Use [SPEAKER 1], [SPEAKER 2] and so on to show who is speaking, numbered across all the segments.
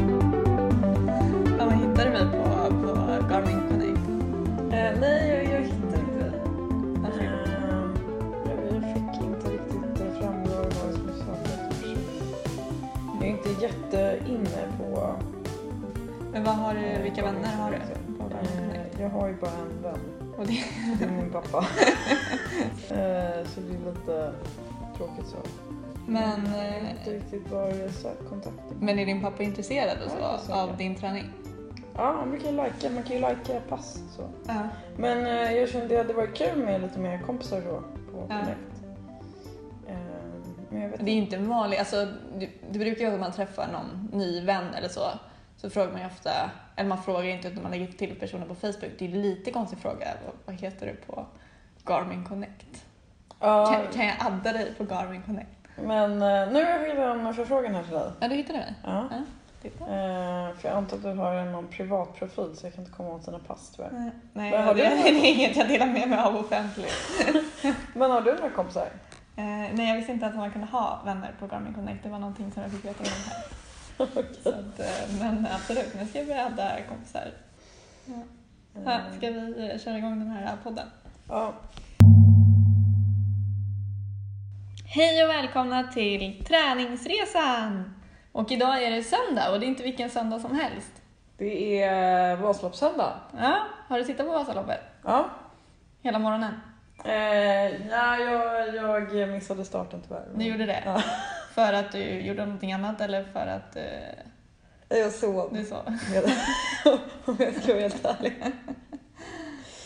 [SPEAKER 1] Eh, Eh, jätteinne på... eh,
[SPEAKER 2] Men vad har du, Eh, vilka vänner har du? Eh,
[SPEAKER 1] På vänner. Jag har ju bara en vän.
[SPEAKER 2] Och det,
[SPEAKER 1] Det är min pappa. Eh, så det är lite tråkigt så.
[SPEAKER 2] men,
[SPEAKER 1] Jag vet inte
[SPEAKER 2] eh,
[SPEAKER 1] riktigt var jag söker kontakten.
[SPEAKER 2] men är din pappa intresserad och
[SPEAKER 1] Ja,
[SPEAKER 2] så,
[SPEAKER 1] säkert.
[SPEAKER 2] av din träning?
[SPEAKER 1] Ja, man kan ju likea, man kan ju likea pass så.
[SPEAKER 2] Ja.
[SPEAKER 1] Men eh, jag kände att det hade varit kul med lite mer kompisar då på
[SPEAKER 2] Ja.
[SPEAKER 1] Connect. Eh, men jag vet
[SPEAKER 2] Det är ju inte en vanlig, alltså, det, det brukar ju vara att man träffar någon ny vän eller så. Så frågar man ju ofta, eller man frågar inte utan man lägger till personer på Facebook. Det är ju lite konstig fråga, vad, vad heter du på Garmin Connect?
[SPEAKER 1] Ja,
[SPEAKER 2] Kan, kan jag adda dig på Garmin Connect?
[SPEAKER 1] men eh, nu har jag skickat en förfrågan här till dig.
[SPEAKER 2] Ja, du hittade mig.
[SPEAKER 1] Ja.
[SPEAKER 2] Ja, det är bra.
[SPEAKER 1] Eh, för jag antar att du har en någon privat profil så jag kan inte komma åt dina pass tyvärr.
[SPEAKER 2] Nej, Nej,
[SPEAKER 1] Vad har
[SPEAKER 2] det,
[SPEAKER 1] du?
[SPEAKER 2] det är inget jag delar med mig av offentligt.
[SPEAKER 1] Men har du några kompisar?
[SPEAKER 2] Eh, nej, jag visste inte att man kunde ha vänner på Garmin Connect. Det var någonting som jag fick veta innan här. Så att, eh, men absolut, nu ska vi adda kompisar. Ja,
[SPEAKER 1] Eh,
[SPEAKER 2] ska vi eh, köra igång den här podden?
[SPEAKER 1] Ja,
[SPEAKER 2] Hej och välkomna till träningsresan! Och idag är det söndag och det är inte vilken söndag som helst.
[SPEAKER 1] det är eh, Vasaloppssöndag.
[SPEAKER 2] Ja, har du tittat på Vasaloppet?
[SPEAKER 1] Ja.
[SPEAKER 2] Hela morgonen?
[SPEAKER 1] Eh, ja, jag, jag missade starten tyvärr.
[SPEAKER 2] Du gjorde det?
[SPEAKER 1] Ja.
[SPEAKER 2] För att du gjorde någonting annat eller för att eh,
[SPEAKER 1] Jag sov.
[SPEAKER 2] du sov?
[SPEAKER 1] Om jag ska vara helt ärlig.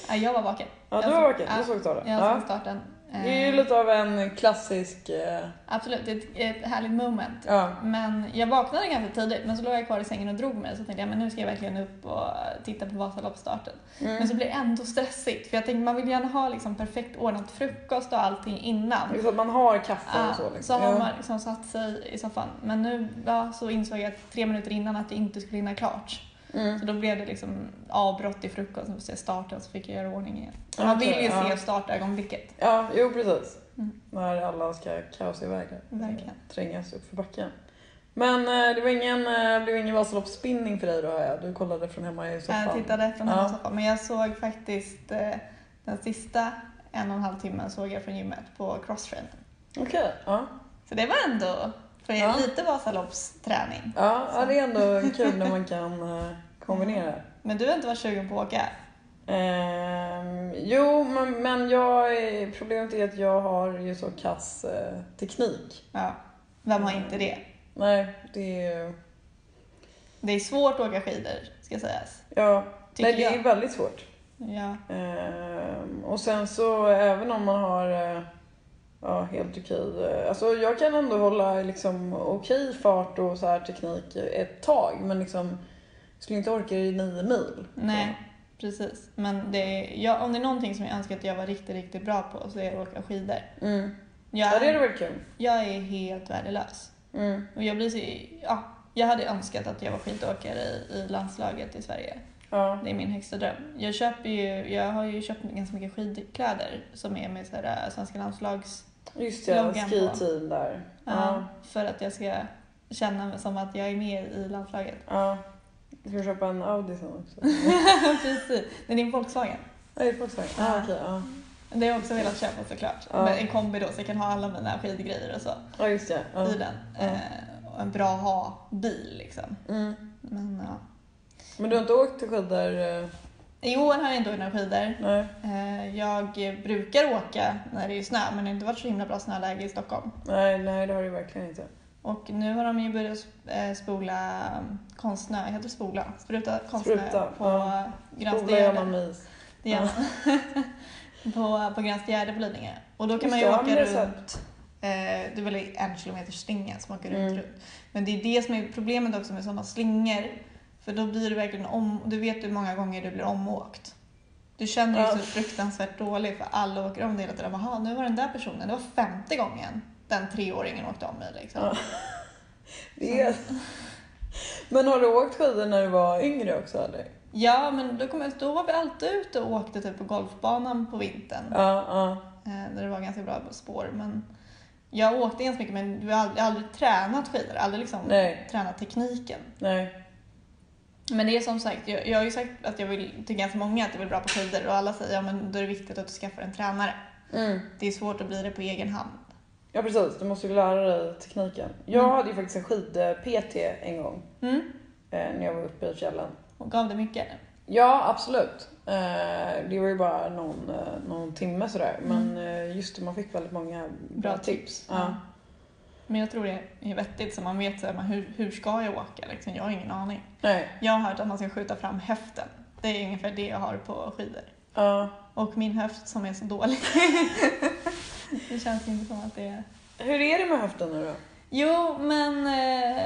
[SPEAKER 2] Ja, jag var vaken.
[SPEAKER 1] Ja, du
[SPEAKER 2] Jag såg-
[SPEAKER 1] var vaken.
[SPEAKER 2] ja.
[SPEAKER 1] Du såg starten.
[SPEAKER 2] Jag
[SPEAKER 1] Ja.
[SPEAKER 2] såg starten. Eh,
[SPEAKER 1] Det är ju lite av en klassisk... eh,
[SPEAKER 2] Absolut, det är ett, ett härligt moment.
[SPEAKER 1] Ja.
[SPEAKER 2] Men jag vaknade ganska tidigt men så låg jag kvar i sängen och drog mig så tänkte jag men nu ska jag verkligen upp och titta på Vasaloppsstarten.
[SPEAKER 1] Mm.
[SPEAKER 2] Men så blir det ändå stressigt för jag tänkte man vill gärna ha liksom perfekt ordnat frukost och allting innan.
[SPEAKER 1] Just att man har kaffe
[SPEAKER 2] Ja,
[SPEAKER 1] och så. Liksom.
[SPEAKER 2] Mm. Ah, så har
[SPEAKER 1] Ja.
[SPEAKER 2] man liksom satt sig i soffan. Men nu ja, så insåg jag tre minuter innan att jag inte skulle hinna klart.
[SPEAKER 1] Mm.
[SPEAKER 2] Så då blev det liksom avbrott i frukosten och se starten så fick jag göra ordning igen.
[SPEAKER 1] Ja,
[SPEAKER 2] Man vill ju
[SPEAKER 1] okej, ja.
[SPEAKER 2] se startögonblicket.
[SPEAKER 1] Ja, jo precis.
[SPEAKER 2] Mm.
[SPEAKER 1] När alla ska kaosa iväg. här.
[SPEAKER 2] Verkligen.
[SPEAKER 1] Eh, Trängas upp för backen. Men eh, det var ingen, eh, det blev ingen Vasaloppsspinning för dig då hör jag. Du kollade från hemma i soffan.
[SPEAKER 2] Jag tittade från hemma
[SPEAKER 1] Ja.
[SPEAKER 2] i soffan. Men jag såg faktiskt eh, den sista en och en halv timmen såg jag från gymmet på crosstrainen.
[SPEAKER 1] Okej. Ja.
[SPEAKER 2] Så det var ändå för
[SPEAKER 1] Ja.
[SPEAKER 2] lite Vasaloppsträning.
[SPEAKER 1] Ja, ja,
[SPEAKER 2] Så.
[SPEAKER 1] det är ändå kul när man kan eh, kombinera.
[SPEAKER 2] Men du har inte varit sugen på att åka?
[SPEAKER 1] Ehm, jo, men, men jag, är- problemet är att jag har ju så kass eh, teknik.
[SPEAKER 2] Ja. Vem har inte det?
[SPEAKER 1] Nej, det är ju...
[SPEAKER 2] Det är svårt att åka skidor, ska sägas.
[SPEAKER 1] Ja,
[SPEAKER 2] Tycker
[SPEAKER 1] nej, det är
[SPEAKER 2] jag.
[SPEAKER 1] väldigt svårt.
[SPEAKER 2] Ja.
[SPEAKER 1] Ehm, och sen så även om man har eh, ja, helt okej, eh, alltså jag kan ändå hålla liksom okej fart och så här teknik ett tag men liksom skulle inte orka det i nio mil.
[SPEAKER 2] Nej, precis. Men det är, jag, om det är någonting som jag önskar att jag var riktigt, riktigt bra på så är det att åka skidor.
[SPEAKER 1] Mm. Ja.
[SPEAKER 2] Jag,
[SPEAKER 1] det hade varit kul.
[SPEAKER 2] jag är helt värdelös.
[SPEAKER 1] Mm.
[SPEAKER 2] Och jag blir så, ja, jag hade önskat att jag var skidåkare i, i landslaget i Sverige.
[SPEAKER 1] Ja.
[SPEAKER 2] Det är min högsta dröm. Jag, köper ju, jag har ju köpt ganska mycket skidkläder som är med så här, äh, svenska landslags...
[SPEAKER 1] Just det,
[SPEAKER 2] Loggan på.
[SPEAKER 1] skiteam där.
[SPEAKER 2] Ja, För att jag ska känna mig som att jag är med i landslaget.
[SPEAKER 1] Ja. Jag ska köpa en Audi sen också.
[SPEAKER 2] Precis. Men det är en Volkswagen.
[SPEAKER 1] Nej, det är Volkswagen. Ah, okej, ja.
[SPEAKER 2] Det har jag också velat köpa såklart.
[SPEAKER 1] Ja.
[SPEAKER 2] Men en kombi då så jag kan ha alla mina skidgrejer och så
[SPEAKER 1] ja, just det. Ja.
[SPEAKER 2] i den.
[SPEAKER 1] Ja.
[SPEAKER 2] Eh, och en bra ha-bil liksom.
[SPEAKER 1] Mm.
[SPEAKER 2] Men ja.
[SPEAKER 1] Men du har inte åkt till skidor? eh,
[SPEAKER 2] I år har jag inte åkt några skidor.
[SPEAKER 1] Nej.
[SPEAKER 2] Eh, jag brukar åka när det är snö men det har inte varit så himla bra snöläge i Stockholm.
[SPEAKER 1] nej, nej, det har du verkligen inte.
[SPEAKER 2] Och nu har de ju börjat eh, spola um, konstsnö, heter det spola? Spruta konstsnö
[SPEAKER 1] Spruta,
[SPEAKER 2] på eh,
[SPEAKER 1] ja. Spola gör man
[SPEAKER 2] Grönstegärde.
[SPEAKER 1] med is.
[SPEAKER 2] Det gör man. på på Grönstegärde på Lidingö. Och då kan
[SPEAKER 1] Just
[SPEAKER 2] man ju
[SPEAKER 1] det, ja, men
[SPEAKER 2] åka
[SPEAKER 1] det
[SPEAKER 2] runt.
[SPEAKER 1] är
[SPEAKER 2] Eh, det är väl en kilometer slinga som åker runt,
[SPEAKER 1] Mm.
[SPEAKER 2] runt. Men det är det som är problemet också med sådana slingor. För då blir det verkligen om, du vet hur många gånger du blir omåkt. Du känner dig
[SPEAKER 1] Ja.
[SPEAKER 2] så fruktansvärt dålig för alla åker om dig hela tiden. Jaha, nu var den där personen, det var femte gången den treåringen åkte om mig. Liksom.
[SPEAKER 1] Ja. Det är... Mm. Men har du åkt skidor när du var yngre också eller?
[SPEAKER 2] Ja, men då, kom jag, då var vi alltid ute och åkte typ på golfbanan på vintern.
[SPEAKER 1] Ja, ja.
[SPEAKER 2] Eh, där det var ganska bra spår. Men jag åkte ganska mycket, men du har aldrig, aldrig tränat skidor. Aldrig liksom
[SPEAKER 1] Nej.
[SPEAKER 2] tränat tekniken.
[SPEAKER 1] Nej.
[SPEAKER 2] Men det är som sagt, jag, jag har ju sagt att jag vill, till ganska många att jag vill bra på skidor och alla säger ja men då är det viktigt att du skaffar en tränare.
[SPEAKER 1] Mm.
[SPEAKER 2] Det är svårt att bli det på egen hand.
[SPEAKER 1] Ja precis, du måste ju lära dig tekniken. Jag hade ju faktiskt en skid-PT en gång
[SPEAKER 2] Mm.
[SPEAKER 1] eh, när jag var uppe i fjällen.
[SPEAKER 2] Och gav det mycket?
[SPEAKER 1] Ja, absolut. Eh, det var ju bara någon, eh, någon timme sådär. Men eh, just det, man fick väldigt många bra,
[SPEAKER 2] Bra
[SPEAKER 1] tips. Mm.
[SPEAKER 2] tips.
[SPEAKER 1] Ja.
[SPEAKER 2] Men jag tror det är vettigt så man vet så här, men hur, hur ska jag åka liksom. Jag har ingen aning.
[SPEAKER 1] Nej,
[SPEAKER 2] Jag har hört att man ska skjuta fram höften. Det är ungefär det jag har på skidor.
[SPEAKER 1] ja.
[SPEAKER 2] Och min höft som är så dålig. det känns inte som att det är...
[SPEAKER 1] Hur är det med höften nu då?
[SPEAKER 2] Jo, men eh,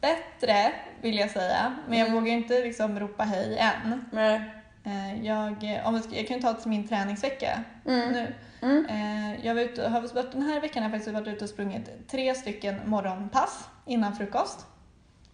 [SPEAKER 2] bättre vill jag säga. Men jag
[SPEAKER 1] Mm.
[SPEAKER 2] vågar inte liksom ropa hej än.
[SPEAKER 1] Nej.
[SPEAKER 2] Eh, jag, om jag, ska, jag kan ju ta till min träningsvecka
[SPEAKER 1] Mm.
[SPEAKER 2] nu.
[SPEAKER 1] Mm.
[SPEAKER 2] Eh, jag var ute, har varit- den här veckan har jag faktiskt varit ute och sprungit tre stycken morgonpass innan frukost.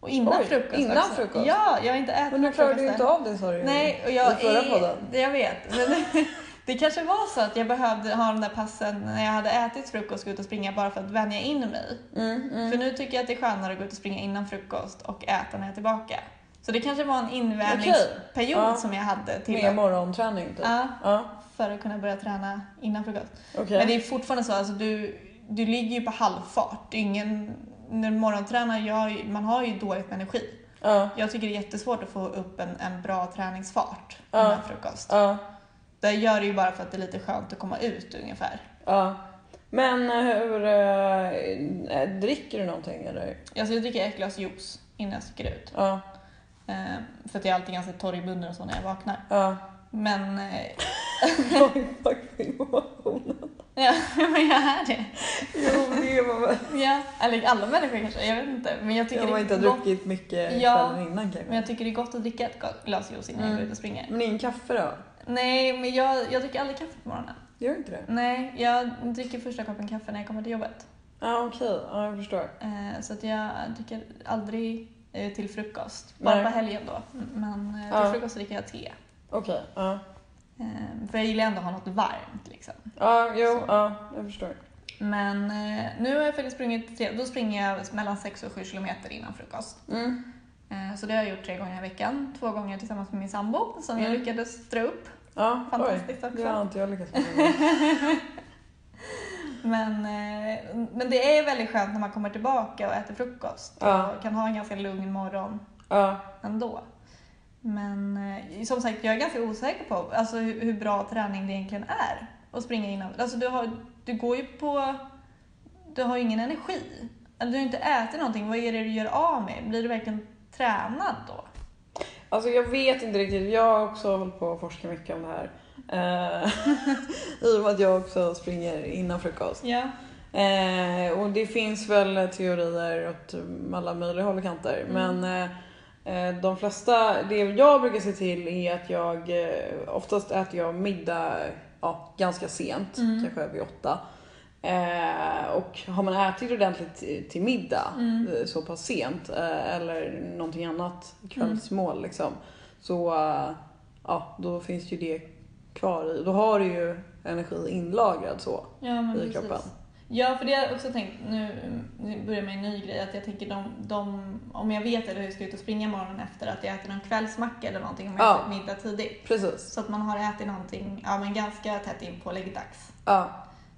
[SPEAKER 2] Och innan
[SPEAKER 1] Oj,
[SPEAKER 2] frukost
[SPEAKER 1] innan
[SPEAKER 2] också.
[SPEAKER 1] frukost?
[SPEAKER 2] Ja, jag har inte ätit
[SPEAKER 1] Men du
[SPEAKER 2] någon
[SPEAKER 1] klarade
[SPEAKER 2] frukost
[SPEAKER 1] ju
[SPEAKER 2] än.
[SPEAKER 1] inte av det sa du ju
[SPEAKER 2] Nej, och jag
[SPEAKER 1] i förra
[SPEAKER 2] är-
[SPEAKER 1] podden.
[SPEAKER 2] Jag vet. Men det kanske var så att jag behövde ha de där passen när jag hade ätit frukost gå ut och springa bara för att vänja in mig.
[SPEAKER 1] Mm, mm.
[SPEAKER 2] För nu tycker jag att det är skönare att gå ut och springa innan frukost och äta när jag är tillbaka. Så det kanske var en invänjningsperiod
[SPEAKER 1] Okej. Ja.
[SPEAKER 2] som jag hade till
[SPEAKER 1] Med
[SPEAKER 2] att,
[SPEAKER 1] morgonträning typ?
[SPEAKER 2] ja,
[SPEAKER 1] Ja,
[SPEAKER 2] för att kunna börja träna innan frukost.
[SPEAKER 1] okej.
[SPEAKER 2] Men det är fortfarande så, alltså, du, du ligger ju på halvfart. Det är ingen, när du morgontränar, jag, har ju- man har ju dåligt med energi.
[SPEAKER 1] Ja,
[SPEAKER 2] Jag tycker det är jättesvårt att få upp en, en bra träningsfart
[SPEAKER 1] Ja.
[SPEAKER 2] innan frukost.
[SPEAKER 1] ja,
[SPEAKER 2] Det gör det ju bara för att det är lite skönt att komma ut ungefär.
[SPEAKER 1] ja. Men hur... eh, dricker du någonting eller?
[SPEAKER 2] Alltså jag dricker ett glas juice innan jag sticker ut.
[SPEAKER 1] Ja,
[SPEAKER 2] Eh, för att jag är alltid ganska torr i munnen och så när jag vaknar.
[SPEAKER 1] ja.
[SPEAKER 2] Men, eh,
[SPEAKER 1] Bra tack för informationen.
[SPEAKER 2] ja, men jag är det.
[SPEAKER 1] Jo, det var
[SPEAKER 2] Ja, eller alla människor kanske, jag vet inte. Men jag tycker
[SPEAKER 1] Jag har
[SPEAKER 2] det är
[SPEAKER 1] inte
[SPEAKER 2] gott,
[SPEAKER 1] druckit mycket
[SPEAKER 2] Ja,
[SPEAKER 1] kvällen innan kanske.
[SPEAKER 2] Men jag tycker det är gott att dricka ett ga- glas juice innan jag
[SPEAKER 1] Mm.
[SPEAKER 2] går ut och springer.
[SPEAKER 1] Men ingen kaffe då?
[SPEAKER 2] Nej, men jag, jag dricker aldrig kaffe på morgonen.
[SPEAKER 1] Gör inte det?
[SPEAKER 2] Nej, jag dricker första koppen kaffe när jag kommer till jobbet.
[SPEAKER 1] Ja, okej. Ja, jag förstår.
[SPEAKER 2] Eh, så att jag dricker aldrig eh, till frukost. Bara
[SPEAKER 1] Nej.
[SPEAKER 2] på helgen då. Men eh, till
[SPEAKER 1] Ja.
[SPEAKER 2] frukost dricker jag te.
[SPEAKER 1] Okej, ja.
[SPEAKER 2] Eh, för jag gillar ändå att ha något varmt liksom.
[SPEAKER 1] Ja, jo,
[SPEAKER 2] Så.
[SPEAKER 1] ja, jag förstår.
[SPEAKER 2] Men eh, nu har jag faktiskt sprungit tre, då springer jag mellan 6 och 7 kilometer innan frukost.
[SPEAKER 1] Mm.
[SPEAKER 2] Eh, så det har jag gjort tre gånger i veckan. Två gånger tillsammans med min sambo som jag
[SPEAKER 1] Mm.
[SPEAKER 2] lyckades dra upp.
[SPEAKER 1] Ja, oj.
[SPEAKER 2] Fantastiskt
[SPEAKER 1] Det
[SPEAKER 2] också.
[SPEAKER 1] har inte jag lyckats med.
[SPEAKER 2] Men, eh, men det är väldigt skönt när man kommer tillbaka och äter frukost
[SPEAKER 1] Ja.
[SPEAKER 2] och kan ha en ganska lugn morgon
[SPEAKER 1] Ja,
[SPEAKER 2] ändå. Men eh, som sagt, jag är ganska osäker på alltså, hur, hur bra träning det egentligen är att springa innan. Alltså, du, har, du går ju på... Du har ju ingen energi. Eller Du har ju inte ätit någonting. Vad är det du gör av med? Blir du verkligen tränad då?
[SPEAKER 1] Alltså jag vet inte riktigt. Jag har också hållit på att forska mycket om det här. Eh, I och med att jag också springer innan frukost.
[SPEAKER 2] Ja.
[SPEAKER 1] Eh, och det finns väl teorier åt alla möjliga håll och kanter.
[SPEAKER 2] Mm.
[SPEAKER 1] Men eh, eh, de flesta, det jag brukar se till är att jag, eh, oftast äter jag middag ja, ganska sent,
[SPEAKER 2] Mm.
[SPEAKER 1] kanske över åtta. Eh, och har man ätit ordentligt till- till middag
[SPEAKER 2] Mm.
[SPEAKER 1] eh, så pass sent eh, eller någonting annat kvällsmål liksom. Så eh, ja, då finns ju det kvar i. Då har du ju energi inlagrad så.
[SPEAKER 2] Ja, men
[SPEAKER 1] i
[SPEAKER 2] precis.
[SPEAKER 1] kroppen.
[SPEAKER 2] Ja, för det har jag också tänkt, nu nu börjar med en ny grej, att jag tänker de, de, om jag vet eller hur jag ska ut och springa morgonen efter, att jag äter någon kvällsmacka eller någonting om jag
[SPEAKER 1] Ja.
[SPEAKER 2] äter middag tidigt.
[SPEAKER 1] Precis.
[SPEAKER 2] Så att man har ätit någonting ja, men ganska tätt in på läggdags.
[SPEAKER 1] Ja.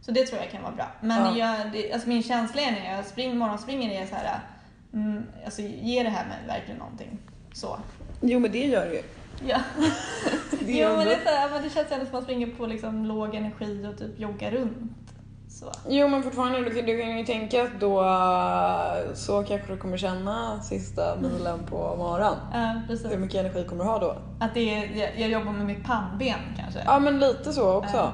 [SPEAKER 2] Så det tror jag kan vara bra. Men
[SPEAKER 1] Ja.
[SPEAKER 2] jag, det, alltså min känsla är när jag spring, morgonspringer är så här, mm, alltså ger det här mig verkligen någonting? Så.
[SPEAKER 1] Jo men det gör det ju.
[SPEAKER 2] Ja.
[SPEAKER 1] Det
[SPEAKER 2] Jo,
[SPEAKER 1] gör
[SPEAKER 2] men
[SPEAKER 1] det.
[SPEAKER 2] det, är så här, men det känns ändå som att man springer på liksom låg energi och typ joggar runt. Så.
[SPEAKER 1] Jo men fortfarande, du, kan- du kan ju tänka att då eh, så kanske du kommer känna sista milen på maran.
[SPEAKER 2] Ja, precis.
[SPEAKER 1] Hur mycket energi kommer du ha då?
[SPEAKER 2] Att det är, jag, jag jobbar med mitt pannben kanske.
[SPEAKER 1] Ja men lite så också.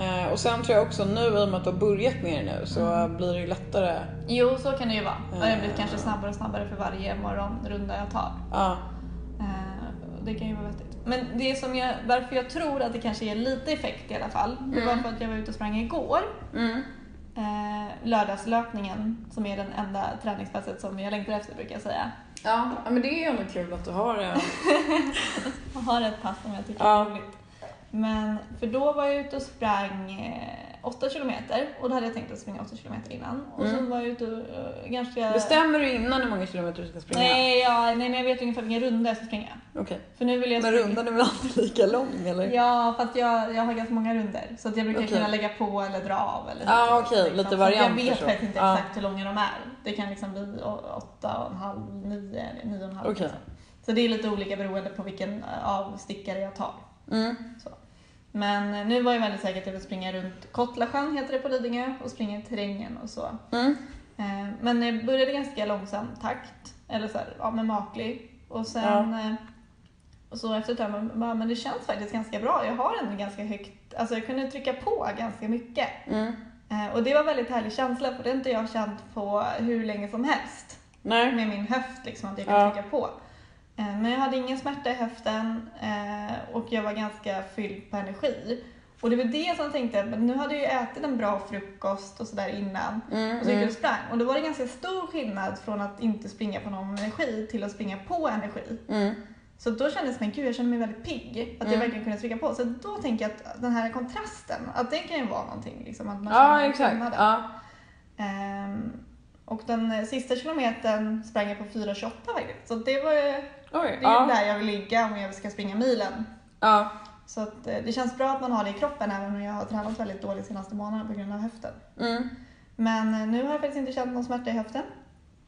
[SPEAKER 1] Eh, och sen tror jag också nu i och med att du har börjat med det nu så blir det ju lättare.
[SPEAKER 2] Jo, så kan det ju vara. Och jag blir
[SPEAKER 1] Eh.
[SPEAKER 2] kanske snabbare och snabbare för varje morgonrunda jag tar.
[SPEAKER 1] Ja.
[SPEAKER 2] Eh, och det kan ju vara vettigt. Men det som jag, varför jag tror att det kanske ger lite effekt i alla fall, det var
[SPEAKER 1] Mm.
[SPEAKER 2] för att jag var ute och sprang igår.
[SPEAKER 1] Mm.
[SPEAKER 2] Eh, lördagslöpningen, som är den enda träningspasset som jag längtar efter brukar jag säga.
[SPEAKER 1] Ja, men det är ju ändå kul att du har det.
[SPEAKER 2] Jag har ett pass som jag tycker
[SPEAKER 1] Ja.
[SPEAKER 2] är roligt. Men, för då var jag ute och sprang eh, 8 kilometer och då hade jag tänkt att springa 8 kilometer innan. Och så
[SPEAKER 1] Mm.
[SPEAKER 2] var jag ute och eh, ganska...
[SPEAKER 1] Bestämmer du innan hur många kilometer du ska springa?
[SPEAKER 2] Nej, ja, nej, men jag vet ungefär vilken runda jag ska springa.
[SPEAKER 1] Okej.
[SPEAKER 2] För nu vill jag
[SPEAKER 1] Men
[SPEAKER 2] springa-
[SPEAKER 1] rundan är väl alltid lika lång eller?
[SPEAKER 2] Ja, fast jag, jag har ganska många runder Så att jag brukar
[SPEAKER 1] Okej.
[SPEAKER 2] kunna lägga på eller dra av. Eller
[SPEAKER 1] Ah,
[SPEAKER 2] så.
[SPEAKER 1] okej, lite
[SPEAKER 2] Så
[SPEAKER 1] varianter
[SPEAKER 2] Jag vet
[SPEAKER 1] så.
[SPEAKER 2] faktiskt inte
[SPEAKER 1] Ah.
[SPEAKER 2] exakt hur långa de är. Det kan liksom bli å- åtta och en halv, nio, eller nio och en halv.
[SPEAKER 1] Okej.
[SPEAKER 2] liksom. Så det är lite olika beroende på vilken eh, avstickare jag tar.
[SPEAKER 1] Mm.
[SPEAKER 2] Men eh, nu var jag väldigt säker att jag vill springa runt Kottlasjön, heter det på Lidingö, och springa i terrängen och så.
[SPEAKER 1] Mm.
[SPEAKER 2] Eh, Men jag började ganska långsam takt, eller så här, ja men maklig. Och sen eh, och så efter ett tag, man bara, men det känns faktiskt ganska bra. Jag har ändå ganska högt, alltså jag kunde trycka på ganska mycket.
[SPEAKER 1] Mm.
[SPEAKER 2] Eh, Och det var en väldigt härlig känsla, för det har inte jag känt på hur länge som helst.
[SPEAKER 1] Nej.
[SPEAKER 2] Med min höft, liksom, att jag
[SPEAKER 1] Ja.
[SPEAKER 2] kan trycka på. Eh, Men jag hade ingen smärta i höften eh, och jag var ganska fylld på energi. Och det var det som jag tänkte, men nu hade jag ju ätit en bra frukost och sådär innan.
[SPEAKER 1] Mm.
[SPEAKER 2] Och så gick jag
[SPEAKER 1] Mm.
[SPEAKER 2] och sprang. Och då var det ganska stor skillnad från att inte springa på någon energi till att springa på energi.
[SPEAKER 1] Mm.
[SPEAKER 2] Så då kändes det, gud jag kände mig väldigt pigg. Att jag
[SPEAKER 1] Mm.
[SPEAKER 2] verkligen kunde trycka på. Så då tänker jag att den här kontrasten, att det kan ju vara någonting. Liksom, att man
[SPEAKER 1] Ja,
[SPEAKER 2] känner
[SPEAKER 1] exakt.
[SPEAKER 2] skillnaden.
[SPEAKER 1] Ja.
[SPEAKER 2] Ehm, och den eh, sista kilometern sprang jag på 4.28 faktiskt. Så det var ju, det
[SPEAKER 1] Oj.
[SPEAKER 2] är ju
[SPEAKER 1] Ja.
[SPEAKER 2] där jag vill ligga om jag ska springa milen.
[SPEAKER 1] Ja.
[SPEAKER 2] Så att, eh, det känns bra att man har det i kroppen även om jag har tränat väldigt dåligt senaste månaden på grund av höften.
[SPEAKER 1] Mm.
[SPEAKER 2] Men eh, nu har jag faktiskt inte känt någon smärta i höften.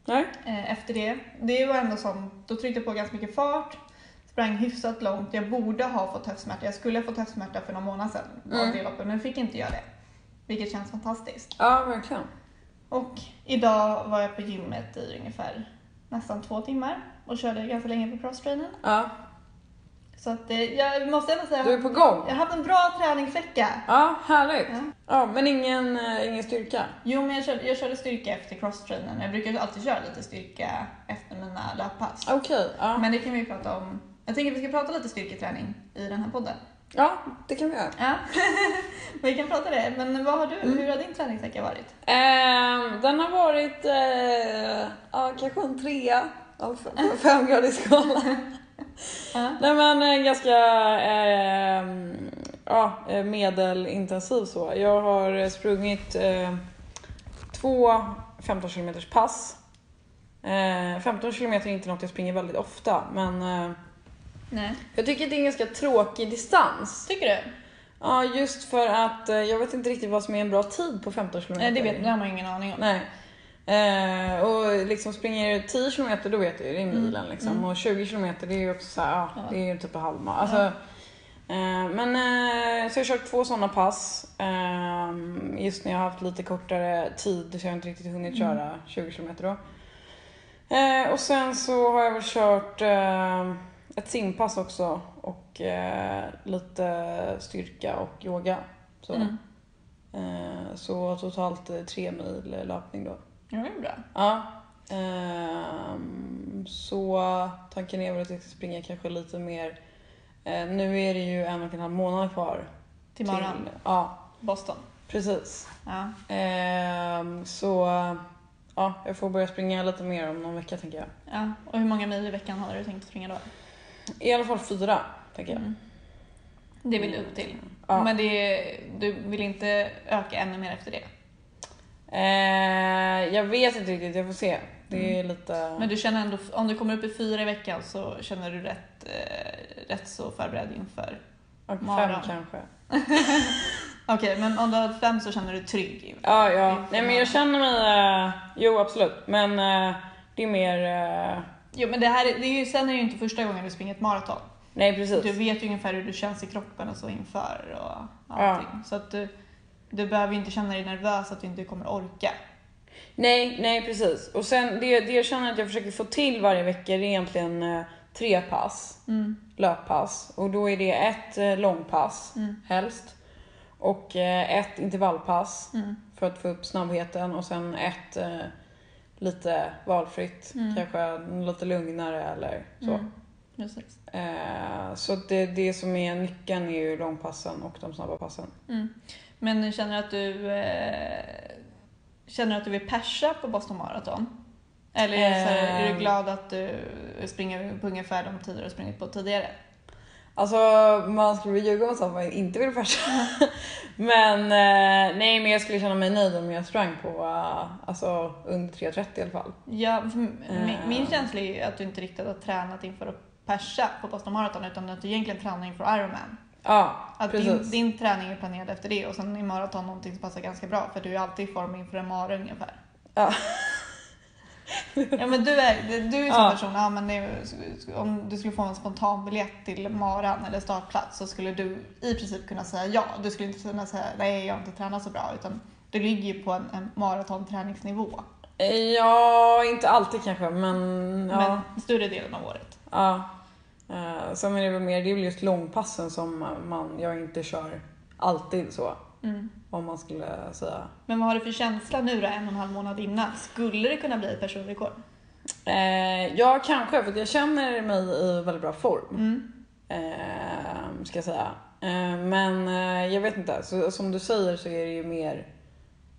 [SPEAKER 1] Nej.
[SPEAKER 2] Eh, efter det. Det var ändå som, då tryckte jag på ganska mycket fart, sprang hyfsat långt. Jag borde ha fått höftsmärta. Jag skulle ha fått höftsmärta för någon månad sedan av
[SPEAKER 1] Mm.
[SPEAKER 2] det loppet, men fick inte jag det. Vilket känns fantastiskt.
[SPEAKER 1] Ja, verkligen.
[SPEAKER 2] Och idag var jag på gymmet i ungefär nästan två timmar och körde ganska länge på crosstrainern.
[SPEAKER 1] Ja.
[SPEAKER 2] Så att eh, jag måste ändå säga
[SPEAKER 1] Du är på gång.
[SPEAKER 2] jag har haft en bra träningsvecka.
[SPEAKER 1] Ja, härligt.
[SPEAKER 2] Ja.
[SPEAKER 1] Ja, men ingen, eh, ingen styrka.
[SPEAKER 2] Jo, men jag körde, jag körde styrka efter crosstrainern. Jag brukar ju alltid köra lite styrka efter mina löppass.
[SPEAKER 1] Okej. Ja.
[SPEAKER 2] Men det kan vi ju prata om. Jag tänker att vi ska prata lite styrketräning i den här podden.
[SPEAKER 1] ja, det kan vi göra.
[SPEAKER 2] Ja. Mm. vi kan prata det. Men vad har du, hur har din träningsvecka varit?
[SPEAKER 1] Ehm, den har varit eh, ja, kanske en trea av fem- på femgradig skala.
[SPEAKER 2] Ja.
[SPEAKER 1] Nej men eh, ganska eh, ja, eh, medelintensiv så. Jag har eh, sprungit eh, två 15 km pass. Eh, 15 km är inte något jag springer väldigt ofta men eh,
[SPEAKER 2] Nej.
[SPEAKER 1] jag tycker det är en ganska tråkig distans.
[SPEAKER 2] Tycker du?
[SPEAKER 1] Ja just för att eh, jag vet inte riktigt vad som är en bra tid på 15 km.
[SPEAKER 2] Nej, Eh, det Mm. vet det har man ingen aning om.
[SPEAKER 1] Nej. Eh, och liksom springer 10 km då vet jag ju, det är milen liksom.
[SPEAKER 2] Mm.
[SPEAKER 1] Och 20 km det är ju också så här, ja,
[SPEAKER 2] Ja.
[SPEAKER 1] det är ju typ en halvma. Alltså, eh, men eh, så jag har kört två sådana pass. Eh, just när jag har haft lite kortare tid så jag har inte riktigt
[SPEAKER 2] Mm.
[SPEAKER 1] hunnit köra 20 km då. Eh, och sen så har jag väl kört eh, ett simpass också och eh, lite styrka och yoga. Så.
[SPEAKER 2] Mm.
[SPEAKER 1] Eh, Så totalt eh, tre mil löpning då.
[SPEAKER 2] Ja, det är bra.
[SPEAKER 1] Ja. Ehm, Så tanken är väl att jag ska springa kanske lite mer. Eh, Nu är det ju en och en halv månad kvar.
[SPEAKER 2] Till morgon.
[SPEAKER 1] Ja,
[SPEAKER 2] Boston.
[SPEAKER 1] precis.
[SPEAKER 2] Ja.
[SPEAKER 1] Ehm, Så ja, jag får börja springa lite mer om någon vecka tänker jag.
[SPEAKER 2] ja. Och hur många mil i veckan har du tänkt springa då?
[SPEAKER 1] I alla fall fyra tänker jag. Mm.
[SPEAKER 2] Mm. Det vill du upp till.
[SPEAKER 1] Ja.
[SPEAKER 2] Men det, du vill inte öka ännu mer efter det.
[SPEAKER 1] Eh, Jag vet inte riktigt, jag får se. Det är lite...
[SPEAKER 2] Mm. Men du känner ändå, om du kommer upp i fyra i veckan så känner du rätt, eh, rätt så förberedd inför
[SPEAKER 1] ja, fem
[SPEAKER 2] maran.
[SPEAKER 1] kanske.
[SPEAKER 2] Okej, men om du har fem så känner du dig trygg? i-
[SPEAKER 1] Ja, ja. Nej, men jag känner mig... eh, jo, absolut. Men eh, det är mer... eh,
[SPEAKER 2] Jo, men det här är, det är ju, sen är det ju inte första gången du springer ett maraton.
[SPEAKER 1] nej,
[SPEAKER 2] Du
[SPEAKER 1] precis.
[SPEAKER 2] vet ju ungefär hur du känns i kroppen och så inför och allting. Så att du, du behöver ju inte känna dig nervös att du inte kommer orka.
[SPEAKER 1] Nej, nej, precis. Och sen det, det jag känner att jag försöker få till varje vecka är egentligen eh, tre pass. Löppass. Och då är det ett eh, långpass,
[SPEAKER 2] Mm.
[SPEAKER 1] helst. Och eh, ett intervallpass
[SPEAKER 2] Mm.
[SPEAKER 1] för att få upp snabbheten. Och sen ett eh, lite valfritt.
[SPEAKER 2] Mm.
[SPEAKER 1] Kanske lite lugnare eller så.
[SPEAKER 2] Mm. Precis.
[SPEAKER 1] Eh, så att det, det som är nyckeln är ju långpassen och de snabba passen.
[SPEAKER 2] Mm. Men känner du att du eh, känner du att du vill persa på Boston Marathon? Eller är, det så här, är du
[SPEAKER 1] Ehm.
[SPEAKER 2] glad att du springer på ungefär de tider du har sprungit på tidigare?
[SPEAKER 1] Alltså man skulle väl ljuga om man sa att man inte vill färsa. men eh, nej men jag skulle känna mig nöjd om jag sprang på eh, alltså, under 3.30 i alla fall.
[SPEAKER 2] Ja, för min,
[SPEAKER 1] Eh.
[SPEAKER 2] min känsla är ju att du inte riktigt har tränat inför att persa på Boston Marathon utan att du egentligen tränar inför Ironman.
[SPEAKER 1] Ja,
[SPEAKER 2] Att din,
[SPEAKER 1] precis.
[SPEAKER 2] din träning är planerad efter det och sen är maraton någonting som passar ganska bra för du är alltid i form inför en mara ungefär.
[SPEAKER 1] Ja.
[SPEAKER 2] ja men du är du är ju sån
[SPEAKER 1] Ja.
[SPEAKER 2] person, ja, men det, är- om du skulle få en spontan biljett till maran eller startplats så skulle du i princip kunna säga ja. Du skulle inte kunna säga nej jag har inte tränat så bra utan du ligger ju på en, en maratonträningsnivå.
[SPEAKER 1] Ja, inte alltid kanske men ja.
[SPEAKER 2] Men större delen av året.
[SPEAKER 1] ja. Eh, sen är det väl mer, det är väl just långpassen som man, jag inte kör alltid så.
[SPEAKER 2] Mm.
[SPEAKER 1] Om man skulle säga.
[SPEAKER 2] Men vad har du för känsla nu då, en och en halv månad innan? Skulle det kunna bli ett personrekord?
[SPEAKER 1] Eh, ja, kanske för att jag känner mig i väldigt bra form.
[SPEAKER 2] Mm.
[SPEAKER 1] eh, ska jag säga. Eh, men eh, jag vet inte, så, som du säger så är det ju mer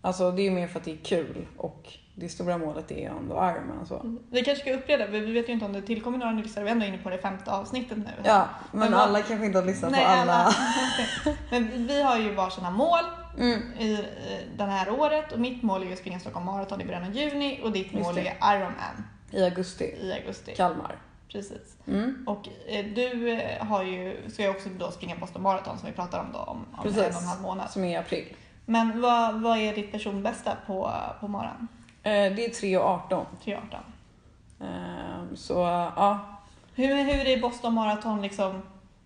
[SPEAKER 1] Alltså det är ju mer för att det är kul och det stora målet är ju ändå Ironman så.
[SPEAKER 2] Vi kanske ska uppleva, vi vet ju inte om det tillkommer några nylyssnare, vi är ändå inne på det femte avsnittet nu.
[SPEAKER 1] Ja, men,
[SPEAKER 2] Men vad-
[SPEAKER 1] alla kanske inte har lyssnat
[SPEAKER 2] Nej,
[SPEAKER 1] på alla.
[SPEAKER 2] Men vi har ju varsina mål
[SPEAKER 1] Mm,
[SPEAKER 2] i i det här året och mitt mål är ju att springa Stockholm Marathon i början av juni och ditt
[SPEAKER 1] Just
[SPEAKER 2] mål är
[SPEAKER 1] det.
[SPEAKER 2] Ironman
[SPEAKER 1] I augusti,
[SPEAKER 2] i augusti.
[SPEAKER 1] Kalmar.
[SPEAKER 2] Precis.
[SPEAKER 1] Mm.
[SPEAKER 2] Och eh, du eh, har ju, ska ju också då springa Boston Marathon som vi pratar om då om, om en
[SPEAKER 1] Precis.
[SPEAKER 2] och en halv månad.
[SPEAKER 1] Som är i april.
[SPEAKER 2] Men vad, vad är ditt personbästa på, på maran?
[SPEAKER 1] Eh, det är 3 och 18.
[SPEAKER 2] 3.18.
[SPEAKER 1] Eh, så ja,
[SPEAKER 2] Hur, hur är Boston Marathon liksom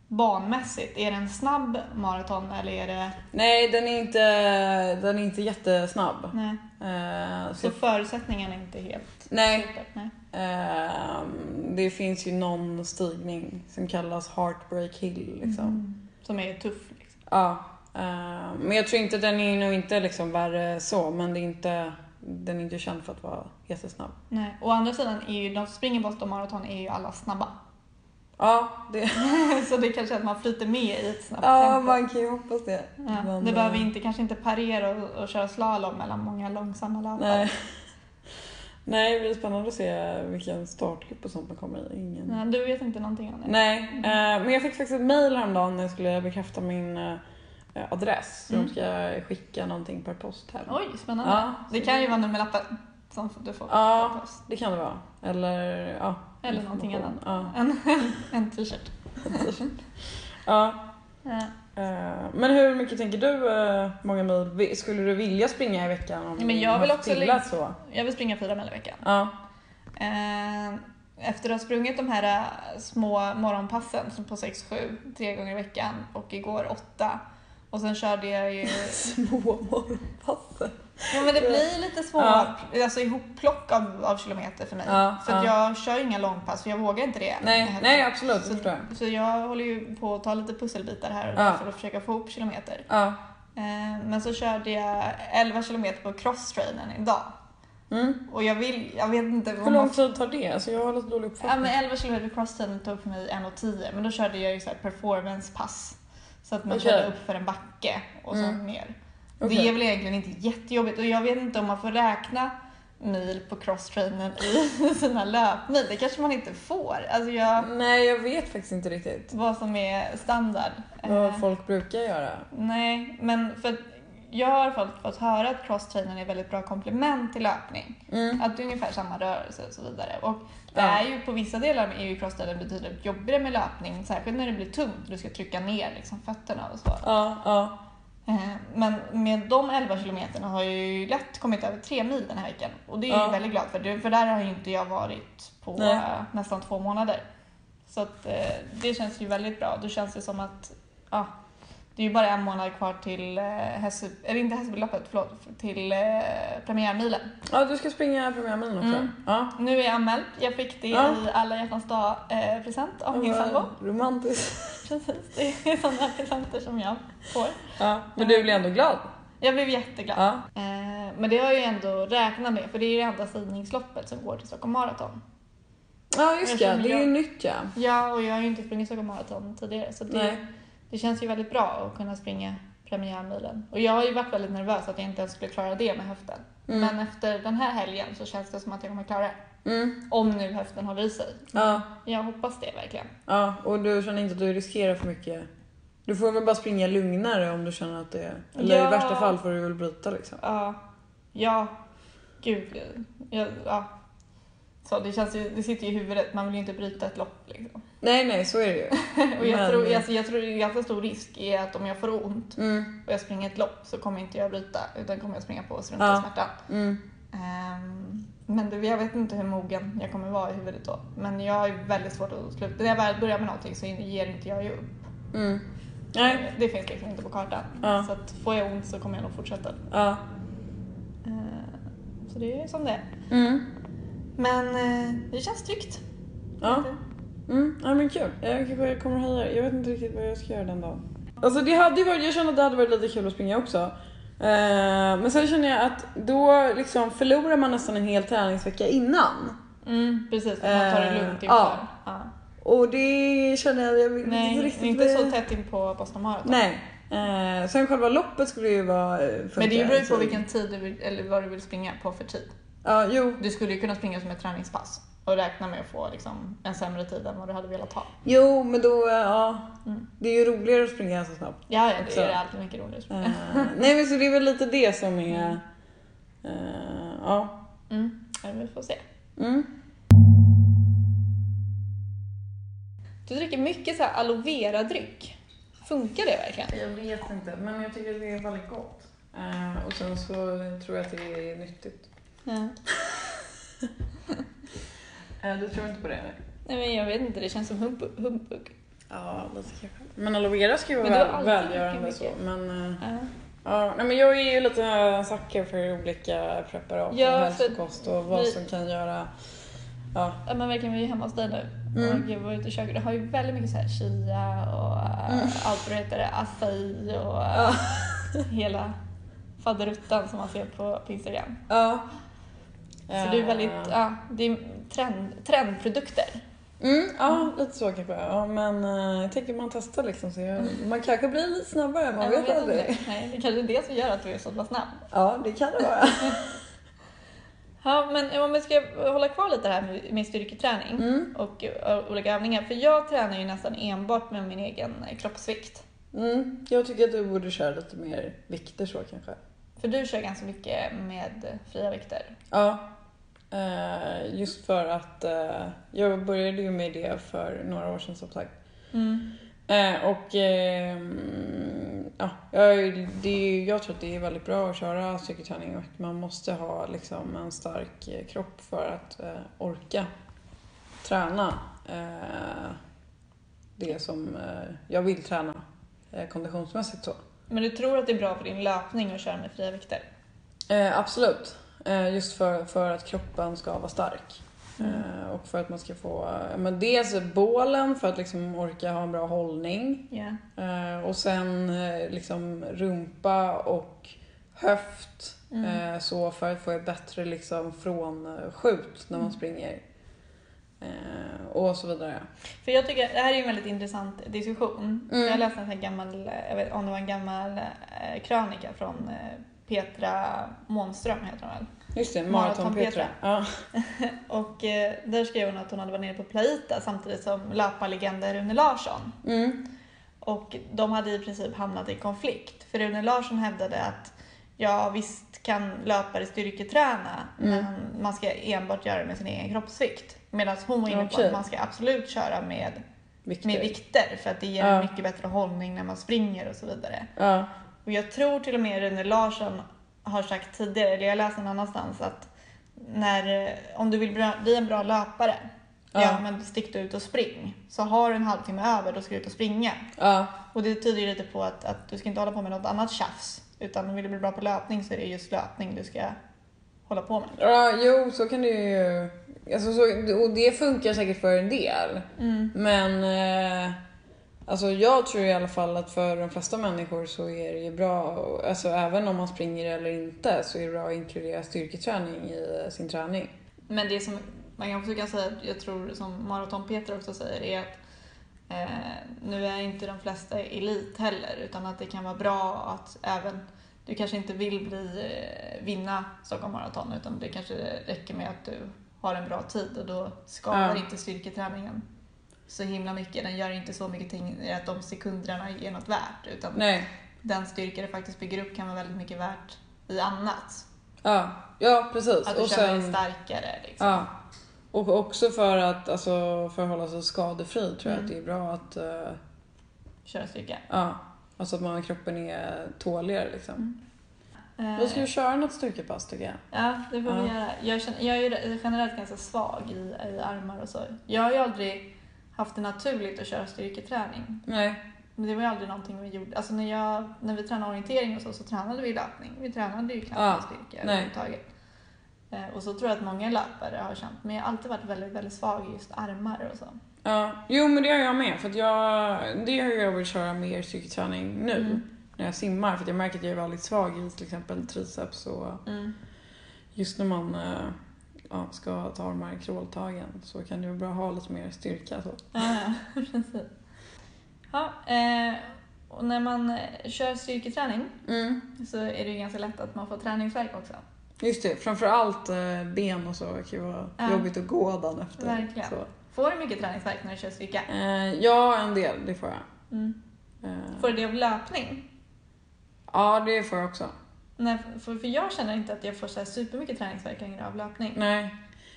[SPEAKER 2] banmässigt? Är det en snabb maraton eller är det...
[SPEAKER 1] nej den är inte, den är inte jättesnabb.
[SPEAKER 2] Nej.
[SPEAKER 1] Eh,
[SPEAKER 2] Så
[SPEAKER 1] så,
[SPEAKER 2] förutsättningarna är inte helt...
[SPEAKER 1] nej,
[SPEAKER 2] Nej.
[SPEAKER 1] Ehm, det finns ju någon stigning som kallas Heartbreak Hill. Liksom.
[SPEAKER 2] Mm. Som är tuff. Liksom.
[SPEAKER 1] Ja, ehm, men jag tror inte den är nog inte liksom värre så, men det är inte, den är inte känd för att vara jättesnabb.
[SPEAKER 2] Nej. Å andra sidan, är ju, de som springer Boston Marathon är ju alla snabba.
[SPEAKER 1] Ja, det,
[SPEAKER 2] så det är kanske är att man flyter med i ett snabbt
[SPEAKER 1] ja
[SPEAKER 2] tempo.
[SPEAKER 1] man kan ju hoppas det.
[SPEAKER 2] Ja,
[SPEAKER 1] Men,
[SPEAKER 2] det behöver
[SPEAKER 1] eh,
[SPEAKER 2] inte, kanske inte parera och, och köra slalom mellan många långsamma löpare.
[SPEAKER 1] Nej. Nej, det blir spännande att se vilken startgrupp och sånt man kommer i. Ingen...
[SPEAKER 2] Nej, Mm. Du vet inte någonting om det?
[SPEAKER 1] Nej, eh, men jag fick faktiskt ett mail häromdagen när jag skulle bekräfta min eh, adress. Så
[SPEAKER 2] Mm.
[SPEAKER 1] de ska skicka någonting per post hem.
[SPEAKER 2] Oj, spännande.
[SPEAKER 1] Ja,
[SPEAKER 2] Det
[SPEAKER 1] så-
[SPEAKER 2] kan ju vara nummerlappen som du får
[SPEAKER 1] Ja.
[SPEAKER 2] på post.
[SPEAKER 1] Det kan det vara. Eller ja.
[SPEAKER 2] Eller någonting
[SPEAKER 1] information.
[SPEAKER 2] annat. En, en, en t-shirt.
[SPEAKER 1] Ja.
[SPEAKER 2] Ja.
[SPEAKER 1] ja. eh, Men hur mycket tänker du eh, många mil vi- skulle du vilja springa i veckan? Om
[SPEAKER 2] Ja, men jag
[SPEAKER 1] du
[SPEAKER 2] vill
[SPEAKER 1] haft
[SPEAKER 2] också
[SPEAKER 1] stilla
[SPEAKER 2] lägga-
[SPEAKER 1] så.
[SPEAKER 2] Jag vill springa fyra mil i veckan.
[SPEAKER 1] Ja.
[SPEAKER 2] Eh, Efter att ha sprungit de här eh, små morgonpassen som på 6-7 tre gånger i veckan och igår åtta och sen körde jag ju...
[SPEAKER 1] Små morgonpass.
[SPEAKER 2] Ja, men det blir lite små
[SPEAKER 1] Ja.
[SPEAKER 2] alltså, ihopplock av, av kilometer för mig.
[SPEAKER 1] Ja,
[SPEAKER 2] så att
[SPEAKER 1] ja.
[SPEAKER 2] jag kör inga långpass för jag vågar inte det.
[SPEAKER 1] Nej, nej absolut, det
[SPEAKER 2] så,
[SPEAKER 1] förstår jag.
[SPEAKER 2] så jag håller ju på att ta lite pusselbitar här och
[SPEAKER 1] Ja.
[SPEAKER 2] där för att försöka få ihop kilometer.
[SPEAKER 1] Ja.
[SPEAKER 2] Eh, Men så körde jag 11 kilometer på crosstrainen idag.
[SPEAKER 1] Mm.
[SPEAKER 2] Och jag vill, jag vet inte.
[SPEAKER 1] Hur lång tid tar det? Alltså, jag har lite dålig
[SPEAKER 2] Ja,
[SPEAKER 1] uppfattning.
[SPEAKER 2] men 11 kilometer crosstrainen tog för mig 1.10 men då körde jag ju så här performancepass. Så att man
[SPEAKER 1] Okej.
[SPEAKER 2] körde upp för en backe och sen
[SPEAKER 1] Mm.
[SPEAKER 2] ner. Det
[SPEAKER 1] Okej.
[SPEAKER 2] är väl egentligen inte jättejobbigt och jag vet inte om man får räkna mil på crosstrainen i sina löpmil. Det kanske man inte får. Alltså jag,
[SPEAKER 1] Nej, jag vet faktiskt inte riktigt
[SPEAKER 2] vad som är standard. Eh,
[SPEAKER 1] vad folk brukar göra.
[SPEAKER 2] Nej, men för att jag har i alla fall fått höra att crosstrainen är ett väldigt bra komplement till löpning.
[SPEAKER 1] Mm.
[SPEAKER 2] Att det är ungefär samma rörelse och så vidare. Och det
[SPEAKER 1] Ja.
[SPEAKER 2] är ju på vissa delar är ju crosstrainen betydligt jobbigare med löpning, särskilt när det blir tungt och du ska trycka ner liksom fötterna och så.
[SPEAKER 1] Ja, ja.
[SPEAKER 2] Eh, Men med de 11 kilometerna har jag ju lätt kommit över tre mil den här veckan och det är jag
[SPEAKER 1] Ja.
[SPEAKER 2] ju väldigt glad för. Det- För där har ju inte jag varit på
[SPEAKER 1] Nej.
[SPEAKER 2] eh, nästan två månader. Så att, eh, det känns ju väldigt bra. Då känns det som att ja, det är ju bara en månad kvar till eh, Hässe, eller inte Hässelbyloppet, förlåt, till eh, premiärmilen.
[SPEAKER 1] ja, du ska springa premiärmilen också.
[SPEAKER 2] Mm.
[SPEAKER 1] Ja.
[SPEAKER 2] Nu är jag anmäld. Jag fick det
[SPEAKER 1] Ja.
[SPEAKER 2] i alla hjärtans dag-present av min
[SPEAKER 1] Vad
[SPEAKER 2] sambo.
[SPEAKER 1] Romantiskt.
[SPEAKER 2] Precis, det är sådana presenter som jag får.
[SPEAKER 1] Ja. Men du blir ändå glad?
[SPEAKER 2] Jag blev jätteglad.
[SPEAKER 1] Ja.
[SPEAKER 2] Eh, Men det har jag ju ändå räknat med för det är ju det enda sidningsloppet som går till Stockholm Marathon.
[SPEAKER 1] Ja, just det.
[SPEAKER 2] Eftersom
[SPEAKER 1] Det är ju
[SPEAKER 2] jag-
[SPEAKER 1] nytt ja.
[SPEAKER 2] Ja, och jag har ju inte sprungit Stockholm Marathon tidigare så det,
[SPEAKER 1] Nej.
[SPEAKER 2] det känns ju väldigt bra att kunna springa premiärmilen. Och jag har ju varit väldigt nervös att jag inte ens skulle klara det med höften.
[SPEAKER 1] Mm.
[SPEAKER 2] Men efter den här helgen så känns det som att jag kommer klara det.
[SPEAKER 1] Mm.
[SPEAKER 2] Om nu höften håller i sig.
[SPEAKER 1] Ja,
[SPEAKER 2] Jag hoppas det verkligen.
[SPEAKER 1] ja, och du känner inte att du riskerar för mycket? Du får väl bara springa lugnare om du känner att det är... Eller i
[SPEAKER 2] Ja.
[SPEAKER 1] värsta fall får du väl bryta liksom.
[SPEAKER 2] Ja. Ja. Gud. Ja. ja. Så det, känns ju, det sitter ju i huvudet. Man vill ju inte bryta ett lopp. Liksom.
[SPEAKER 1] Nej, nej, så är det ju.
[SPEAKER 2] Och jag,
[SPEAKER 1] Men-
[SPEAKER 2] tror, jag, jag tror det är ganska stor risk i att om jag får ont
[SPEAKER 1] Mm,
[SPEAKER 2] och jag springer ett lopp så kommer inte jag bryta utan kommer jag springa på och strunta
[SPEAKER 1] Ja.
[SPEAKER 2] i smärtan.
[SPEAKER 1] mm.
[SPEAKER 2] Ehm, men det, jag vet inte hur mogen jag kommer vara i huvudet då. Men jag har ju väldigt svårt att sluta. När jag väl börjar med någonting så ger inte jag ju upp.
[SPEAKER 1] Mm. Nej,
[SPEAKER 2] Det finns liksom inte på kartan.
[SPEAKER 1] Ja.
[SPEAKER 2] Så att får jag ont så kommer jag nog fortsätta.
[SPEAKER 1] ja.
[SPEAKER 2] Ehm, så det är som det är.
[SPEAKER 1] Mm.
[SPEAKER 2] Men eh, det känns tryggt.
[SPEAKER 1] Ja. Mm. ja, men kul. Jag kanske kommer heja. Jag vet inte riktigt vad jag ska göra den dagen. Alltså det hade ju varit, jag känner att det hade varit lite kul att springa också. Eh, men sen känner jag att då liksom förlorar man nästan en hel träningsvecka innan.
[SPEAKER 2] Mm, precis, att man tar det
[SPEAKER 1] Eh,
[SPEAKER 2] lugnt inför.
[SPEAKER 1] ja.
[SPEAKER 2] Ja.
[SPEAKER 1] Och det känner jag, jag vill inte
[SPEAKER 2] Nej,
[SPEAKER 1] riktigt...
[SPEAKER 2] inte så tätt in på Boston Marathon.
[SPEAKER 1] Nej. Eh, sen själva loppet skulle ju vara... eh, funka,
[SPEAKER 2] Men det beror ju på
[SPEAKER 1] så-
[SPEAKER 2] vilken tid du vill, eller vad du vill springa på för tid.
[SPEAKER 1] Ja, jo.
[SPEAKER 2] Du skulle ju kunna springa som ett träningspass och räkna med att få liksom, en sämre tid än vad du hade velat ha.
[SPEAKER 1] Jo, men då... eh, Ja.
[SPEAKER 2] Mm.
[SPEAKER 1] Det är ju roligare att springa så snabbt.
[SPEAKER 2] Ja, ja det
[SPEAKER 1] Också.
[SPEAKER 2] är alltid mycket roligare.
[SPEAKER 1] Eh, nej, men så det är väl lite det som är... eh, ja.
[SPEAKER 2] Mm. Ja, vi får se.
[SPEAKER 1] Mm.
[SPEAKER 2] Du dricker mycket så här aloe vera-dryck. Funkar det verkligen?
[SPEAKER 1] Jag vet inte, men jag tycker att det är väldigt gott. Eh, och sen så tror jag att det är nyttigt.
[SPEAKER 2] Ja.
[SPEAKER 1] Eh, du tror inte på det? Nej.
[SPEAKER 2] Nej, men jag vet inte, det känns som humbug. humbug.
[SPEAKER 1] Ja, lite kanske. Men aloe vera ska ju vara
[SPEAKER 2] Men du har
[SPEAKER 1] väl,
[SPEAKER 2] alltid
[SPEAKER 1] välgörande
[SPEAKER 2] druckit
[SPEAKER 1] så. Men, eh,
[SPEAKER 2] Ja.
[SPEAKER 1] ja, nej, men jag är ju lite en sucker för olika preparat
[SPEAKER 2] Ja,
[SPEAKER 1] och
[SPEAKER 2] för-
[SPEAKER 1] hälsokost och vad
[SPEAKER 2] vi-
[SPEAKER 1] som kan göra... Ja.
[SPEAKER 2] Ja men verkligen, vi är ju hemma hos dig nu.
[SPEAKER 1] Mm.
[SPEAKER 2] Och jag var ute och köket. Det har ju väldigt mycket så här chia och äh,
[SPEAKER 1] Mm.
[SPEAKER 2] allt vad det heter, acai och
[SPEAKER 1] Ja.
[SPEAKER 2] äh, hela faderuttan som man ser på, på Instagram.
[SPEAKER 1] ja.
[SPEAKER 2] Så
[SPEAKER 1] Eh,
[SPEAKER 2] det är väldigt, ja, det är trend, trendprodukter.
[SPEAKER 1] Mm, ja, lite så kanske. Ja, men eh, jag tänker man testar liksom. Så jag, man kanske blir lite snabbare, man
[SPEAKER 2] Nej,
[SPEAKER 1] vet aldrig.
[SPEAKER 2] inte. Nej, det är kanske är det som gör att du är så pass snabb.
[SPEAKER 1] Ja, det kan det vara.
[SPEAKER 2] Ja, men om vi ska hålla kvar lite här med, med styrketräning
[SPEAKER 1] Mm.
[SPEAKER 2] och, och olika övningar. För jag tränar ju nästan enbart med min egen eh, kroppsvikt.
[SPEAKER 1] Mm, jag tycker att du borde köra lite mer vikter så kanske.
[SPEAKER 2] För du kör ganska mycket med fria vikter.
[SPEAKER 1] Ja. Eh, just för att eh, jag började ju med det för några år sedan som sagt. Eh, och ehm, ja, jag, är- det, är- jag tror att det är väldigt bra att köra styrketräning och att man måste ha liksom, en stark eh, kropp för att eh, orka träna eh, det som eh, jag vill träna eh, konditionsmässigt så.
[SPEAKER 2] Men du tror att det är bra för din löpning att köra med fria vikter?
[SPEAKER 1] Eh, absolut. Eh, just för, för att kroppen ska vara stark.
[SPEAKER 2] Mm.
[SPEAKER 1] Eh, och för att man ska få eh, men dels bålen för att liksom orka ha en bra hållning.
[SPEAKER 2] Ja.
[SPEAKER 1] Eh, och sen eh, liksom rumpa och höft.
[SPEAKER 2] Mm.
[SPEAKER 1] Eh, så för att få ett bättre liksom frånskjut när man
[SPEAKER 2] Mm.
[SPEAKER 1] springer. Eh, och så vidare.
[SPEAKER 2] För jag tycker att det här är ju en väldigt intressant diskussion.
[SPEAKER 1] Mm.
[SPEAKER 2] Jag läste en sån här gammal, jag vet om det var en gammal eh, krönika från eh, Petra Månström heter hon väl.
[SPEAKER 1] Just det,
[SPEAKER 2] Maraton
[SPEAKER 1] maraton-Petra.
[SPEAKER 2] Petra.
[SPEAKER 1] Ja.
[SPEAKER 2] Och eh, där skrev hon att hon hade varit nere på Plaita samtidigt som löparlegenden Rune Larsson.
[SPEAKER 1] Mm.
[SPEAKER 2] Och de hade i princip hamnat i konflikt. För Rune Larsson hävdade att ja visst kan löpare styrketräna
[SPEAKER 1] Mm.
[SPEAKER 2] men man ska enbart göra det med sin egen kroppsvikt. Medan hon var inne på
[SPEAKER 1] Okej.
[SPEAKER 2] att man ska absolut köra med
[SPEAKER 1] Vikter.
[SPEAKER 2] med vikter för att det ger
[SPEAKER 1] Ja.
[SPEAKER 2] en mycket bättre hållning när man springer och så vidare.
[SPEAKER 1] Ja.
[SPEAKER 2] Och jag tror till och med Rune Larsson har sagt tidigare, eller jag läste någon annanstans att när, eh, om du vill bra- bli en bra löpare,
[SPEAKER 1] Ja.
[SPEAKER 2] ja. men stick då ut och spring. Så har du en halvtimme över, då ska du ut och springa.
[SPEAKER 1] Ja.
[SPEAKER 2] Och det tyder ju lite på att, att du ska inte hålla på med något annat tjafs. Utan vill du bli bra på löpning så är det just löpning du ska hålla på med.
[SPEAKER 1] Ja, jo, så kan det ju... Alltså, så, och det funkar säkert för en del. Men eh, alltså, jag tror i alla fall att för de flesta människor så är det ju bra, alltså, även om man springer eller inte, så är det bra att inkludera styrketräning i eh, sin träning.
[SPEAKER 2] Men det som man kan också kan säga, jag tror som Maraton-Peter också säger, är att eh, nu är inte de flesta elit heller, utan att det kan vara bra att även du kanske inte vill bli, eh, vinna Stockholm Marathon, utan det kanske räcker med att du har en bra tid och då skadar
[SPEAKER 1] Ja.
[SPEAKER 2] inte styrketräningen så himla mycket. Den gör inte så mycket ting att de sekunderna är något värt utan
[SPEAKER 1] Nej.
[SPEAKER 2] den styrka det faktiskt bygger upp kan vara väldigt mycket värt i annat.
[SPEAKER 1] Ja, ja precis.
[SPEAKER 2] Att du
[SPEAKER 1] och
[SPEAKER 2] känner dig
[SPEAKER 1] sen,
[SPEAKER 2] starkare. Liksom.
[SPEAKER 1] ja. Och också för att, alltså, för att hålla sig skadefri tror jag
[SPEAKER 2] Mm.
[SPEAKER 1] att det är bra att, eh,
[SPEAKER 2] Köra styrka.
[SPEAKER 1] ja, alltså att man, kroppen är tåligare liksom.
[SPEAKER 2] Mm. Eh,
[SPEAKER 1] Vi ska ju köra något styrkepass tycker jag.
[SPEAKER 2] Ja, det får vi
[SPEAKER 1] Ja.
[SPEAKER 2] göra. Jag, känner, jag är ju generellt ganska svag i, i armar och så. Jag har ju aldrig haft det naturligt att köra styrketräning.
[SPEAKER 1] Nej.
[SPEAKER 2] Men det var ju aldrig någonting vi gjorde. Alltså när, jag, när vi tränade orientering och så, så tränade vi löpning. Vi tränade ju knappt
[SPEAKER 1] Ja,
[SPEAKER 2] med styrka
[SPEAKER 1] nej.
[SPEAKER 2] överhuvudtaget. Eh, Och så tror jag att många löpare har känt. Men jag har alltid varit väldigt, väldigt svag i just armar och så.
[SPEAKER 1] Ja. Jo men det har jag med för att jag, det har jag börjat köra mer styrketräning nu.
[SPEAKER 2] Mm.
[SPEAKER 1] När jag simmar för att jag märker att jag är väldigt svag i till exempel triceps och
[SPEAKER 2] Mm.
[SPEAKER 1] just när man eh, ja, ska ta de här crawltagen så kan det vara bra att ha lite mer styrka. Så.
[SPEAKER 2] Ja, ja, precis. Ja, eh, och när man eh, kör styrketräning
[SPEAKER 1] Mm.
[SPEAKER 2] så är det ju ganska lätt att man får träningsvärk också.
[SPEAKER 1] Just det, framförallt eh, ben och så kan ju vara
[SPEAKER 2] Ja.
[SPEAKER 1] jobbigt att gå dagen efter.
[SPEAKER 2] Verkligen.
[SPEAKER 1] Så.
[SPEAKER 2] Får du mycket träningsvärk när du kör styrka?
[SPEAKER 1] Eh, ja, en del, det får jag.
[SPEAKER 2] Mm.
[SPEAKER 1] Eh,
[SPEAKER 2] Får du det av löpning?
[SPEAKER 1] Ja, det får jag också.
[SPEAKER 2] Nej, för, för jag känner inte att jag får så här supermycket träningsvärk längre av löpning.
[SPEAKER 1] Nej.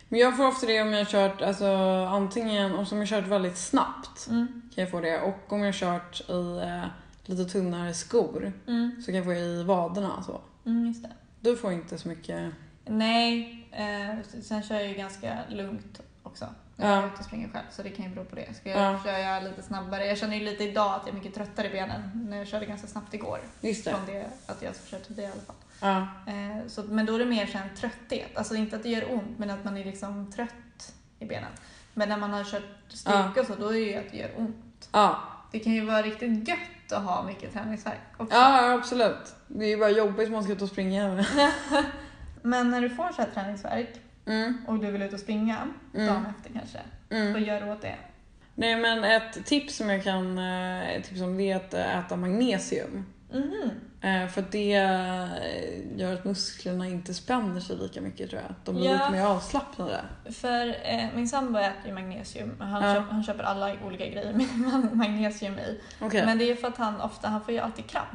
[SPEAKER 1] Men jag får ofta det om jag har kört, alltså antingen om som jag kört väldigt snabbt
[SPEAKER 2] Mm.
[SPEAKER 1] kan jag få det och om jag har kört i eh, lite tunnare skor
[SPEAKER 2] Mm.
[SPEAKER 1] så kan jag få det i vaderna så.
[SPEAKER 2] Mm, just det.
[SPEAKER 1] Du får inte så mycket.
[SPEAKER 2] Nej, eh, sen kör jag ju ganska lugnt också. När Jag
[SPEAKER 1] Ja.
[SPEAKER 2] är ute och springer själv så det kan ju bero på det. Ska jag
[SPEAKER 1] Ja.
[SPEAKER 2] köra lite snabbare? Jag känner ju lite idag att jag är mycket tröttare i benen när jag körde ganska snabbt igår.
[SPEAKER 1] Just det.
[SPEAKER 2] Från det att jag kör tidigare i alla fall.
[SPEAKER 1] Ja.
[SPEAKER 2] Eh, så, men då är det mer så här en trötthet. Alltså inte att det gör ont men att man är liksom trött i benen. Men när man har kört styrka och så då är det ju att det gör ont.
[SPEAKER 1] Ja.
[SPEAKER 2] Det kan ju vara riktigt gött att ha mycket träningsvärk också.
[SPEAKER 1] ja, ja, absolut. Det är ju bara jobbigt om man ska ut och springa.
[SPEAKER 2] Men när du får så här träningsvärk
[SPEAKER 1] Mm,
[SPEAKER 2] och du vill ut och springa dagen
[SPEAKER 1] mm,
[SPEAKER 2] efter kanske,
[SPEAKER 1] mm.
[SPEAKER 2] vad gör du åt det?
[SPEAKER 1] Nej men ett tips som jag kan eh, ett tips om det är att eh, äta magnesium.
[SPEAKER 2] Mhm.
[SPEAKER 1] Eh, För att det eh, gör att musklerna inte spänner sig lika mycket tror jag. De blir
[SPEAKER 2] Ja.
[SPEAKER 1] lite mer avslappnade.
[SPEAKER 2] För eh, min sambo äter ju magnesium. Han,
[SPEAKER 1] Ja.
[SPEAKER 2] köper, han köper alla olika grejer med magnesium i.
[SPEAKER 1] Okej.
[SPEAKER 2] Men det är för att han ofta, han får ju alltid kramp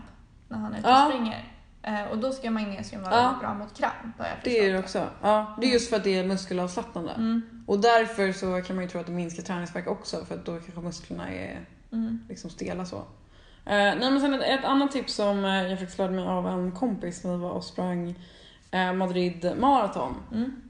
[SPEAKER 2] när han är ute
[SPEAKER 1] Ja.
[SPEAKER 2] och springer. Eh, och då ska magnesium vara
[SPEAKER 1] Ja.
[SPEAKER 2] väldigt bra mot kramp har jag förstått.
[SPEAKER 1] Det är det också. Ja, det är just för att det är muskelavslappnande.
[SPEAKER 2] Mm.
[SPEAKER 1] Och därför så kan man ju tro att det minskar träningsvärk också för att då kanske musklerna är
[SPEAKER 2] Mm.
[SPEAKER 1] liksom stela så. Eh, nej, men sen ett, ett annat tips som eh, jag faktiskt lärde mig av en kompis när vi var och sprang eh, Madrid maraton.
[SPEAKER 2] Mm.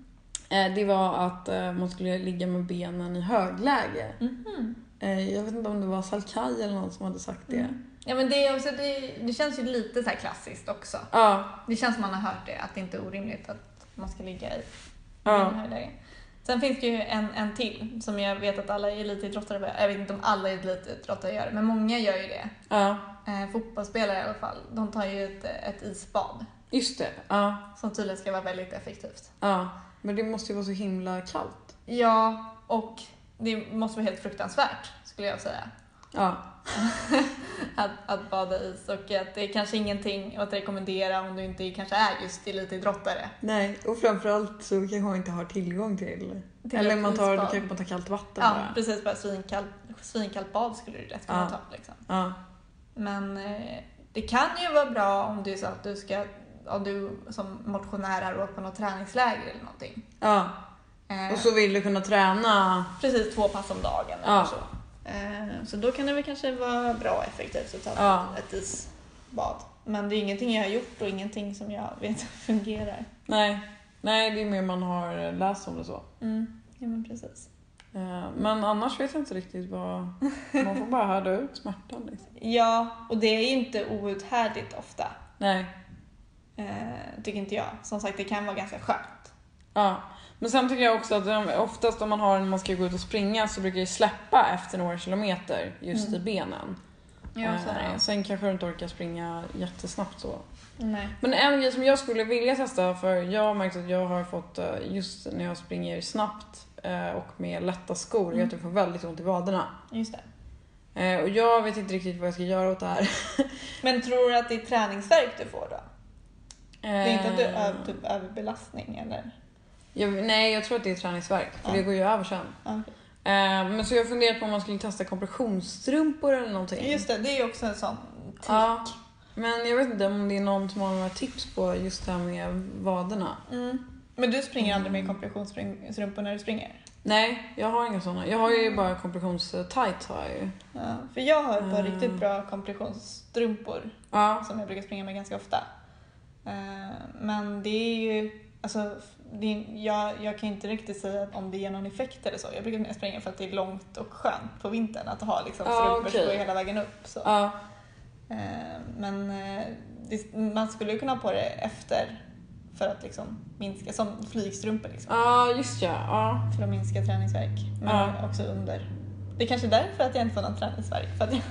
[SPEAKER 1] Eh, det var att eh, man skulle ligga med benen i högläge.
[SPEAKER 2] Mhm.
[SPEAKER 1] Eh, jag vet inte om det var Salkai eller någon som hade sagt det.
[SPEAKER 2] Mm. Ja, men det, är också, det, det känns ju lite så här klassiskt också.
[SPEAKER 1] Ja,
[SPEAKER 2] Det känns som man har hört det, att det inte är orimligt att man ska ligga i
[SPEAKER 1] ja.
[SPEAKER 2] den här lägen. Sen finns det ju en, en till som jag vet att alla elitidrottare börjar- Jag vet inte om alla elitidrottare gör det, men många gör ju det.
[SPEAKER 1] Ja,
[SPEAKER 2] Eh, fotbollsspelare i alla fall, de tar ju ett, ett isbad
[SPEAKER 1] just det. Ja,
[SPEAKER 2] som tydligen ska vara väldigt effektivt.
[SPEAKER 1] ja. Men det måste ju vara så himla kallt.
[SPEAKER 2] Ja, och det måste vara helt fruktansvärt skulle jag säga.
[SPEAKER 1] Ja,
[SPEAKER 2] Att, att bada is och att det är kanske ingenting att rekommendera om du inte kanske är just elitidrottare.
[SPEAKER 1] nej. Och framförallt så kanske man inte har tillgång till...
[SPEAKER 2] Till
[SPEAKER 1] Eller
[SPEAKER 2] ett
[SPEAKER 1] man tar, då
[SPEAKER 2] isbad.
[SPEAKER 1] kanske man tar kallt vatten
[SPEAKER 2] Ja,
[SPEAKER 1] bara.
[SPEAKER 2] precis. Bara svinkallt, svinkallt bad skulle du lätt kunna
[SPEAKER 1] Ja.
[SPEAKER 2] ta. Liksom.
[SPEAKER 1] Ja,
[SPEAKER 2] Men eh, det kan ju vara bra om du så att du ska om du som motionär har åkt på något träningsläger eller någonting.
[SPEAKER 1] ja.
[SPEAKER 2] Eh,
[SPEAKER 1] Och så vill du kunna träna.
[SPEAKER 2] Precis två pass om dagen eller
[SPEAKER 1] Ja.
[SPEAKER 2] så. Eh, så då kan det väl kanske vara bra och effektivt att ta
[SPEAKER 1] Ja.
[SPEAKER 2] ett isbad. Men det är ingenting jag har gjort och ingenting som jag vet fungerar.
[SPEAKER 1] Nej, nej det är mer man har läst om det så.
[SPEAKER 2] Mm. Ja men precis.
[SPEAKER 1] Eh, Men annars vet jag inte riktigt vad... Man får bara härda ut smärtan liksom.
[SPEAKER 2] Ja, och det är ju inte outhärdligt ofta.
[SPEAKER 1] Nej.
[SPEAKER 2] Eh, tycker inte jag. Som sagt, det kan vara ganska skönt.
[SPEAKER 1] Ja. Men sen tycker jag också att eh, oftast om man har när man ska gå ut och springa så brukar det släppa efter några kilometer just
[SPEAKER 2] Mm.
[SPEAKER 1] i benen. Eh, Sen kanske du inte orkar springa jättesnabbt så.
[SPEAKER 2] Eh, Nej.
[SPEAKER 1] Men en grej som jag skulle vilja testa, för jag har märkt att jag har fått eh, just när jag springer snabbt eh, och med lätta skor, jag
[SPEAKER 2] Mm.
[SPEAKER 1] att jag får väldigt ont i vaderna.
[SPEAKER 2] Just det.
[SPEAKER 1] Eh, Och jag vet inte riktigt vad jag ska göra åt det här.
[SPEAKER 2] Men tror du att det är träningsvärk du får då? Det är typ- inte att du
[SPEAKER 1] Eh,
[SPEAKER 2] är typ överbelastning eller?
[SPEAKER 1] Jag, nej, jag tror att det är träningsvärk. För
[SPEAKER 2] Ja.
[SPEAKER 1] det går ju över sen.
[SPEAKER 2] Ja.
[SPEAKER 1] Eh, men så jag funderar på om man skulle testa kompressionsstrumpor eller någonting.
[SPEAKER 2] Just det, det är också en sån tik.
[SPEAKER 1] Ja. Men jag vet inte om det är någon som har några tips på just det här med vaderna.
[SPEAKER 2] Mm. Men du springer aldrig
[SPEAKER 1] Mm.
[SPEAKER 2] med kompressionsstrumpor när du springer?
[SPEAKER 1] Nej, jag har inga sådana. Jag har ju bara kompressions-tight har jag ju.
[SPEAKER 2] Ja, för jag har ett par
[SPEAKER 1] Mm.
[SPEAKER 2] riktigt bra kompressionsstrumpor
[SPEAKER 1] Ja.
[SPEAKER 2] som jag brukar springa med ganska ofta. Eh, Men det är ju, alltså, f- det är, jag, jag kan ju inte riktigt säga om det ger någon effekt eller så. Jag brukar mer springa för att det är långt och skönt på vintern att ha liksom,
[SPEAKER 1] Ja,
[SPEAKER 2] strumpor
[SPEAKER 1] okej.
[SPEAKER 2] som går hela vägen upp. Så.
[SPEAKER 1] ja.
[SPEAKER 2] Eh, Men eh, det, man skulle ju kunna ha på det efter för att liksom minska, som flygstrumpor liksom.
[SPEAKER 1] Ja, just ja. ja.
[SPEAKER 2] För att minska träningsvärk. Men
[SPEAKER 1] Ja.
[SPEAKER 2] också under. Det är kanske är därför att jag inte får någon träningsvärk. För att jag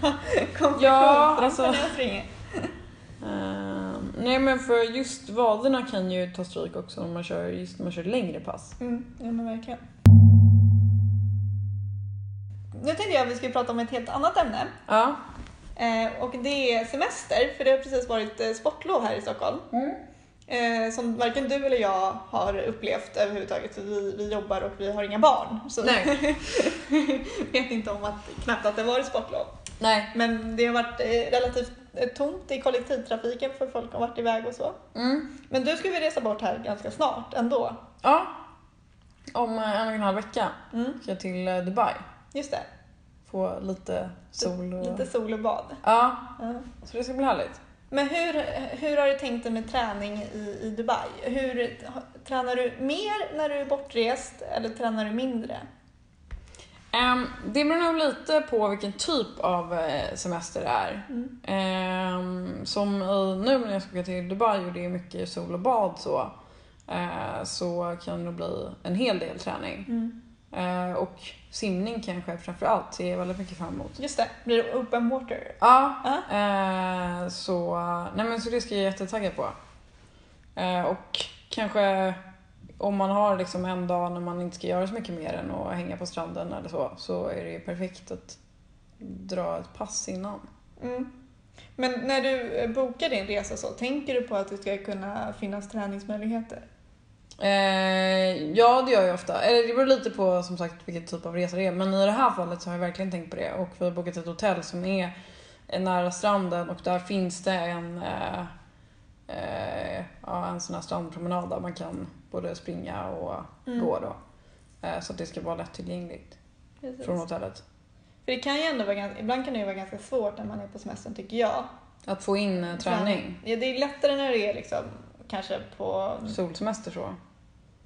[SPEAKER 2] kom
[SPEAKER 1] Ja,
[SPEAKER 2] på
[SPEAKER 1] alltså.
[SPEAKER 2] strumpor när jag springer.
[SPEAKER 1] Eh, nej men för just vaderna kan ju ta stryk också om man kör, just när man kör längre pass.
[SPEAKER 2] Mm, ja men verkligen. Nu tänkte jag att vi skulle prata om ett helt annat ämne.
[SPEAKER 1] Ja.
[SPEAKER 2] Eh, och det är semester, för det har precis varit eh, sportlov här i Stockholm. Eh, som varken du eller jag har upplevt överhuvudtaget, för vi, vi jobbar och vi har inga barn. Så
[SPEAKER 1] Nej.
[SPEAKER 2] vet inte om att, knappt att det varit sportlov.
[SPEAKER 1] Nej.
[SPEAKER 2] Men det har varit eh, relativt eh, tomt i kollektivtrafiken för folk har varit iväg och så.
[SPEAKER 1] Mm.
[SPEAKER 2] Men du ska vi resa bort här ganska snart ändå.
[SPEAKER 1] Ja. Om eh, en och en halv vecka
[SPEAKER 2] Mm,
[SPEAKER 1] ska jag till eh, Dubai.
[SPEAKER 2] just det,
[SPEAKER 1] Få lite sol och...
[SPEAKER 2] lite sol och bad.
[SPEAKER 1] Ja,
[SPEAKER 2] Ja.
[SPEAKER 1] så det ska bli härligt.
[SPEAKER 2] Men hur, hur har du tänkt dig med träning i, i Dubai? Hur, tränar du mer när du är bortrest eller tränar du mindre?
[SPEAKER 1] Ehm, det beror nog lite på vilken typ av eh, semester det är.
[SPEAKER 2] Mm.
[SPEAKER 1] Ehm, som i, nu när jag ska åka till Dubai och det är mycket sol och bad så, eh, så kan det nog bli en hel del träning.
[SPEAKER 2] mm.
[SPEAKER 1] Eh, och simning kanske framförallt ser jag väldigt mycket fram emot.
[SPEAKER 2] Just det, blir det open water?
[SPEAKER 1] Ja,
[SPEAKER 2] Ja.
[SPEAKER 1] eh, så, nej men så det ska jag vara jättetaggad på. Eh, och kanske om man har liksom en dag när man inte ska göra så mycket mer än att hänga på stranden eller så, så är det ju perfekt att dra ett pass innan.
[SPEAKER 2] Mm. Men när du eh, bokar din resa så, tänker du på att det ska kunna finnas träningsmöjligheter?
[SPEAKER 1] Eh, ja, det gör jag ofta. Eller det beror lite på som sagt vilken typ av resa det är. Men i det här fallet så har jag verkligen tänkt på det. Och vi har bokat ett hotell som är nära stranden och där finns det en, eh, eh, ja, en sån här strandpromenad där man kan både springa och
[SPEAKER 2] Mm.
[SPEAKER 1] gå. Då. Eh, så att det ska vara lättillgängligt
[SPEAKER 2] Precis.
[SPEAKER 1] från hotellet.
[SPEAKER 2] För det kan ju ändå vara, gans- ibland kan det ju vara ganska svårt när man är på semestern tycker jag.
[SPEAKER 1] Att få in eh, träning.
[SPEAKER 2] Ja, det är lättare när det är liksom kanske på
[SPEAKER 1] Solsemester så.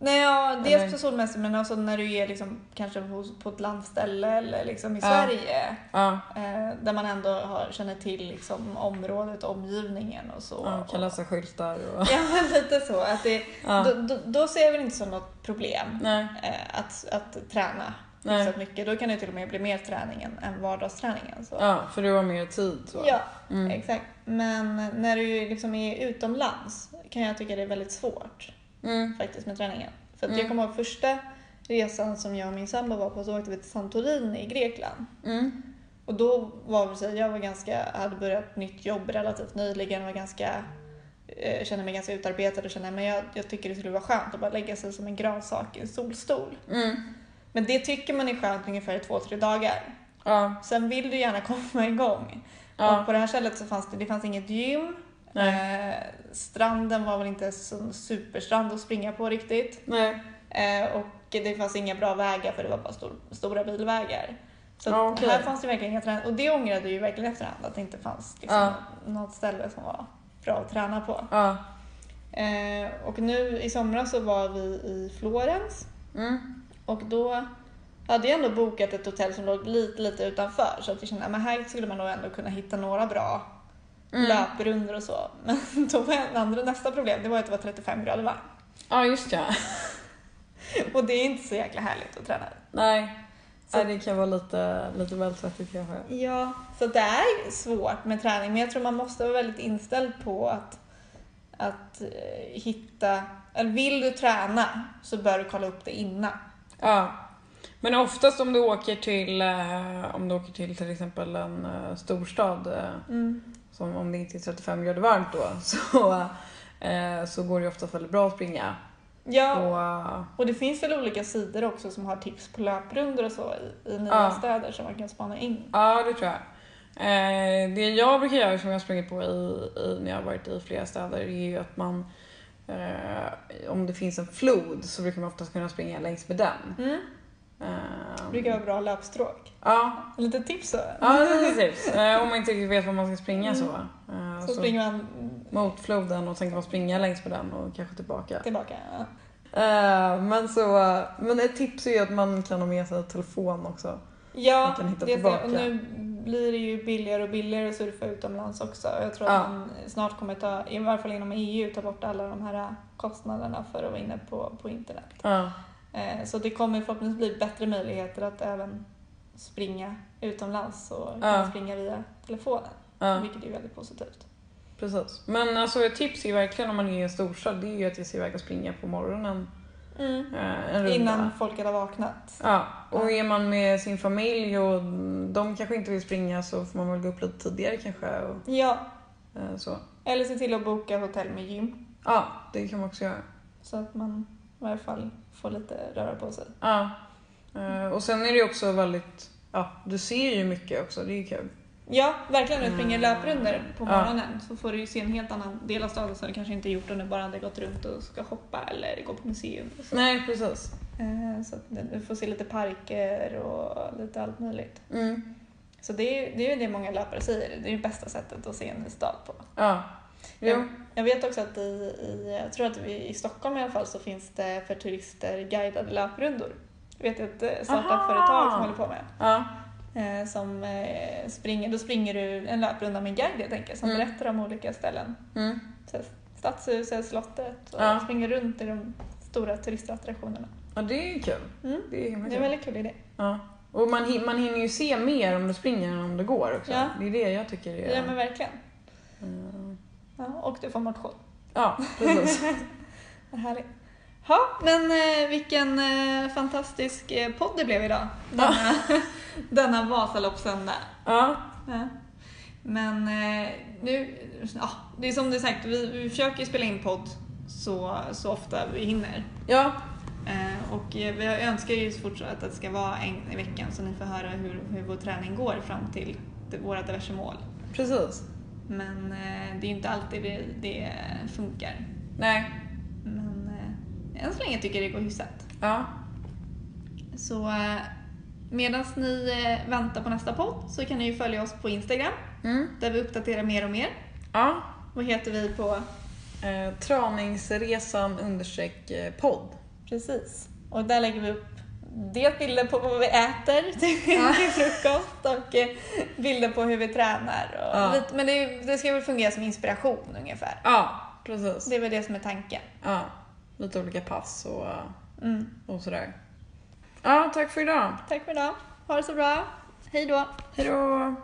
[SPEAKER 2] Nej, ja, dels
[SPEAKER 1] Eller-
[SPEAKER 2] på solmässor men också när du är liksom, kanske hos, på ett landställe eller liksom i
[SPEAKER 1] Ja.
[SPEAKER 2] Sverige
[SPEAKER 1] Ja,
[SPEAKER 2] eh, där man ändå har, känner till liksom, området, omgivningen och så.
[SPEAKER 1] ja, kan läsa skyltar och...
[SPEAKER 2] Ja, men lite så. Att det,
[SPEAKER 1] Ja.
[SPEAKER 2] då, då, då ser jag väl inte som något problem
[SPEAKER 1] Nej,
[SPEAKER 2] eh, att, att träna
[SPEAKER 1] nej.
[SPEAKER 2] så mycket. Då kan det till och med bli mer träning än, än vardagsträningen. Så.
[SPEAKER 1] Ja, för du har mer tid. Så.
[SPEAKER 2] Ja,
[SPEAKER 1] Mm.
[SPEAKER 2] exakt. Men när du liksom är utomlands kan jag tycka det är väldigt svårt
[SPEAKER 1] Mm.
[SPEAKER 2] faktiskt med träningen. För att
[SPEAKER 1] Mm.
[SPEAKER 2] jag kommer ihåg första resan som jag och min sambo var på så åkte vi till Santorini i Grekland.
[SPEAKER 1] Mm.
[SPEAKER 2] Och då var vi så här, jag var ganska, hade börjat nytt jobb relativt nyligen, var ganska, eh, kände mig ganska utarbetad och kände men jag, jag tycker det skulle vara skönt att bara lägga sig som en gransak i en solstol.
[SPEAKER 1] Mm.
[SPEAKER 2] Men det tycker man är skönt ungefär i två, tre dagar.
[SPEAKER 1] Ja,
[SPEAKER 2] Sen vill du gärna komma igång. Och
[SPEAKER 1] ja,
[SPEAKER 2] på det här stället så fanns det, det fanns inget gym,
[SPEAKER 1] nej,
[SPEAKER 2] eh, stranden var väl inte en sån superstrand att springa på riktigt.
[SPEAKER 1] nej,
[SPEAKER 2] Eh, och det fanns inga bra vägar för det var bara stor, stora bilvägar. Så
[SPEAKER 1] Ja,
[SPEAKER 2] att
[SPEAKER 1] okej.
[SPEAKER 2] här fanns det verkligen inga trän- Och det ångrade jag ju verkligen efterhand att det inte fanns liksom,
[SPEAKER 1] Ja.
[SPEAKER 2] något ställe som var bra att träna på.
[SPEAKER 1] ja,
[SPEAKER 2] Eh, och nu i somras så var vi i Florens
[SPEAKER 1] mm,
[SPEAKER 2] och då hade jag ändå bokat ett hotell som låg lite, lite utanför så att jag kände att här skulle man nog ändå kunna hitta några bra
[SPEAKER 1] mm.
[SPEAKER 2] löprundor och så. Men då var det andra, nästa problem det var att det var 35 grader varmt.
[SPEAKER 1] Ja, just ja.
[SPEAKER 2] Och det är inte så jäkla härligt att träna
[SPEAKER 1] Nej,
[SPEAKER 2] Så-
[SPEAKER 1] nej det kan vara lite, lite väl svettigt kanske.
[SPEAKER 2] Ja, så det är svårt med träning men jag tror man måste vara väldigt inställd på att, att eh, hitta, eller vill du träna så bör du kolla upp det innan.
[SPEAKER 1] Ja. Men oftast om du åker till, eh, om du åker till till exempel en eh, storstad, eh,
[SPEAKER 2] Mm.
[SPEAKER 1] som om det inte är 35 grader varmt då, så, eh, så går det ju oftast väldigt bra att springa.
[SPEAKER 2] Ja,
[SPEAKER 1] Och, eh,
[SPEAKER 2] och det finns väl olika sidor också som har tips på löprundor och så i, i nya
[SPEAKER 1] Ja.
[SPEAKER 2] städer som man kan spana in.
[SPEAKER 1] ja, det tror jag. Eh, det jag brukar göra som jag har sprungit på i, i, när jag har varit i flera städer är ju att man eh, om det finns en flod så brukar man oftast kunna springa längs med den.
[SPEAKER 2] Mm.
[SPEAKER 1] Eh,
[SPEAKER 2] Det brukar vara bra löpstråk.
[SPEAKER 1] Ja,
[SPEAKER 2] Lite tips så.
[SPEAKER 1] Ja, det är tips. Eh, Om man inte riktigt vet var man ska springa så. Eh,
[SPEAKER 2] Så springer man
[SPEAKER 1] Mot floden och sen kan man springa längs med den och kanske tillbaka.
[SPEAKER 2] tillbaka. Ja.
[SPEAKER 1] Eh, Men, så, eh, men ett tips är ju att man kan ha med sig telefon också.
[SPEAKER 2] Ja,
[SPEAKER 1] Man kan hitta
[SPEAKER 2] det är det.
[SPEAKER 1] tillbaka.
[SPEAKER 2] och nu blir det ju billigare och billigare att surfa utomlands också. Jag tror
[SPEAKER 1] Ja.
[SPEAKER 2] att man snart kommer ta, i varje fall inom EU, ta bort alla de här kostnaderna för att vara inne på, på internet.
[SPEAKER 1] Ja,
[SPEAKER 2] Eh, så det kommer förhoppningsvis bli bättre möjligheter att även springa utomlands och kunna
[SPEAKER 1] Ja.
[SPEAKER 2] springa via telefonen,
[SPEAKER 1] ja,
[SPEAKER 2] vilket är väldigt positivt.
[SPEAKER 1] precis. Men alltså ett tips är ju verkligen om man är i en storstad, det är ju att ge sig iväg och springa på morgonen. eh, En runda.
[SPEAKER 2] Innan folk hade vaknat.
[SPEAKER 1] Ja, och
[SPEAKER 2] Ja.
[SPEAKER 1] är man med sin familj och de kanske inte vill springa så får man väl gå upp lite tidigare kanske. Och,
[SPEAKER 2] Ja,
[SPEAKER 1] eh, så.
[SPEAKER 2] eller se till att boka hotell med gym
[SPEAKER 1] Ja, det kan man också göra.
[SPEAKER 2] så att man i varje fall får lite röra på sig.
[SPEAKER 1] Ja. Eh, Och sen är det ju också väldigt, ja du ser ju mycket också, det är ju kul.
[SPEAKER 2] Ja, verkligen. När du springer
[SPEAKER 1] Mm.
[SPEAKER 2] löprundor på
[SPEAKER 1] Ja.
[SPEAKER 2] morgonen så får du ju se en helt annan del av staden som du kanske inte gjort om du bara hade gått runt och ska shoppa eller gå på museum. Och så.
[SPEAKER 1] Nej precis.
[SPEAKER 2] Eh, Så att du får se lite parker och lite allt möjligt.
[SPEAKER 1] Mm.
[SPEAKER 2] Så det är ju det, är ju det många löpare säger, det är det bästa sättet att se en ny stad på.
[SPEAKER 1] Ja. Jo.
[SPEAKER 2] Jag vet också att i, i, jag tror att vi, i Stockholm i alla fall så finns det för turister guidade löprundor. Jag vet ett eh, startup-företag som
[SPEAKER 1] Aha.
[SPEAKER 2] håller på med.
[SPEAKER 1] Ja.
[SPEAKER 2] Eh, som eh, springer, då springer du en löprunda med en guide helt enkelt som
[SPEAKER 1] Mm.
[SPEAKER 2] berättar om olika ställen.
[SPEAKER 1] Mm.
[SPEAKER 2] Så här, Stadshuset, slottet och
[SPEAKER 1] Ja.
[SPEAKER 2] springer runt i de stora turistattraktionerna.
[SPEAKER 1] ja, det är ju kul.
[SPEAKER 2] Mm.
[SPEAKER 1] Det är himla
[SPEAKER 2] Det är en
[SPEAKER 1] kul.
[SPEAKER 2] väldigt kul idé.
[SPEAKER 1] Ja. Och man, hin- man hinner ju se mer om du springer än om du går också.
[SPEAKER 2] Ja.
[SPEAKER 1] Det är det jag tycker
[SPEAKER 2] Ja,
[SPEAKER 1] är...
[SPEAKER 2] men verkligen.
[SPEAKER 1] Eh,
[SPEAKER 2] Ja, och du får motion.
[SPEAKER 1] ja precis.
[SPEAKER 2] Vad härligt. Ja, men eh, vilken eh, fantastisk eh, podd det blev idag. Denna, denna Vasaloppssöndag.
[SPEAKER 1] ja.
[SPEAKER 2] Ja. Men eh, nu, ja, det är som du sagt, vi, vi försöker ju spela in podd så, så ofta vi hinner.
[SPEAKER 1] Ja.
[SPEAKER 2] Eh, och eh, vi önskar ju så fort så att det ska vara en i veckan så ni får höra hur, hur vår träning går fram till det- våra diverse mål.
[SPEAKER 1] Precis.
[SPEAKER 2] Men eh, det är ju inte alltid det, det funkar.
[SPEAKER 1] Nej.
[SPEAKER 2] Men eh, än så länge tycker jag det går hyfsat.
[SPEAKER 1] Ja.
[SPEAKER 2] Så eh, medan ni eh, väntar på nästa podd så kan ni ju följa oss på Instagram
[SPEAKER 1] Mm.
[SPEAKER 2] där vi uppdaterar mer och mer.
[SPEAKER 1] Ja.
[SPEAKER 2] Vad heter vi på?
[SPEAKER 1] Eh, traningsresan understreck eh, podd.
[SPEAKER 2] Precis. Och där lägger vi upp dels bilder på vad vi äter till, till frukost och eh, bilder på hur vi tränar. Och
[SPEAKER 1] Ja.
[SPEAKER 2] lite, men det, det ska väl fungera som inspiration ungefär.
[SPEAKER 1] Ja, precis.
[SPEAKER 2] Det är väl det som är tanken.
[SPEAKER 1] Ja, lite olika pass och,
[SPEAKER 2] Mm.
[SPEAKER 1] och sådär. Ja, tack för idag.
[SPEAKER 2] Tack för idag. Ha det så bra. Hej då.
[SPEAKER 1] Hej då!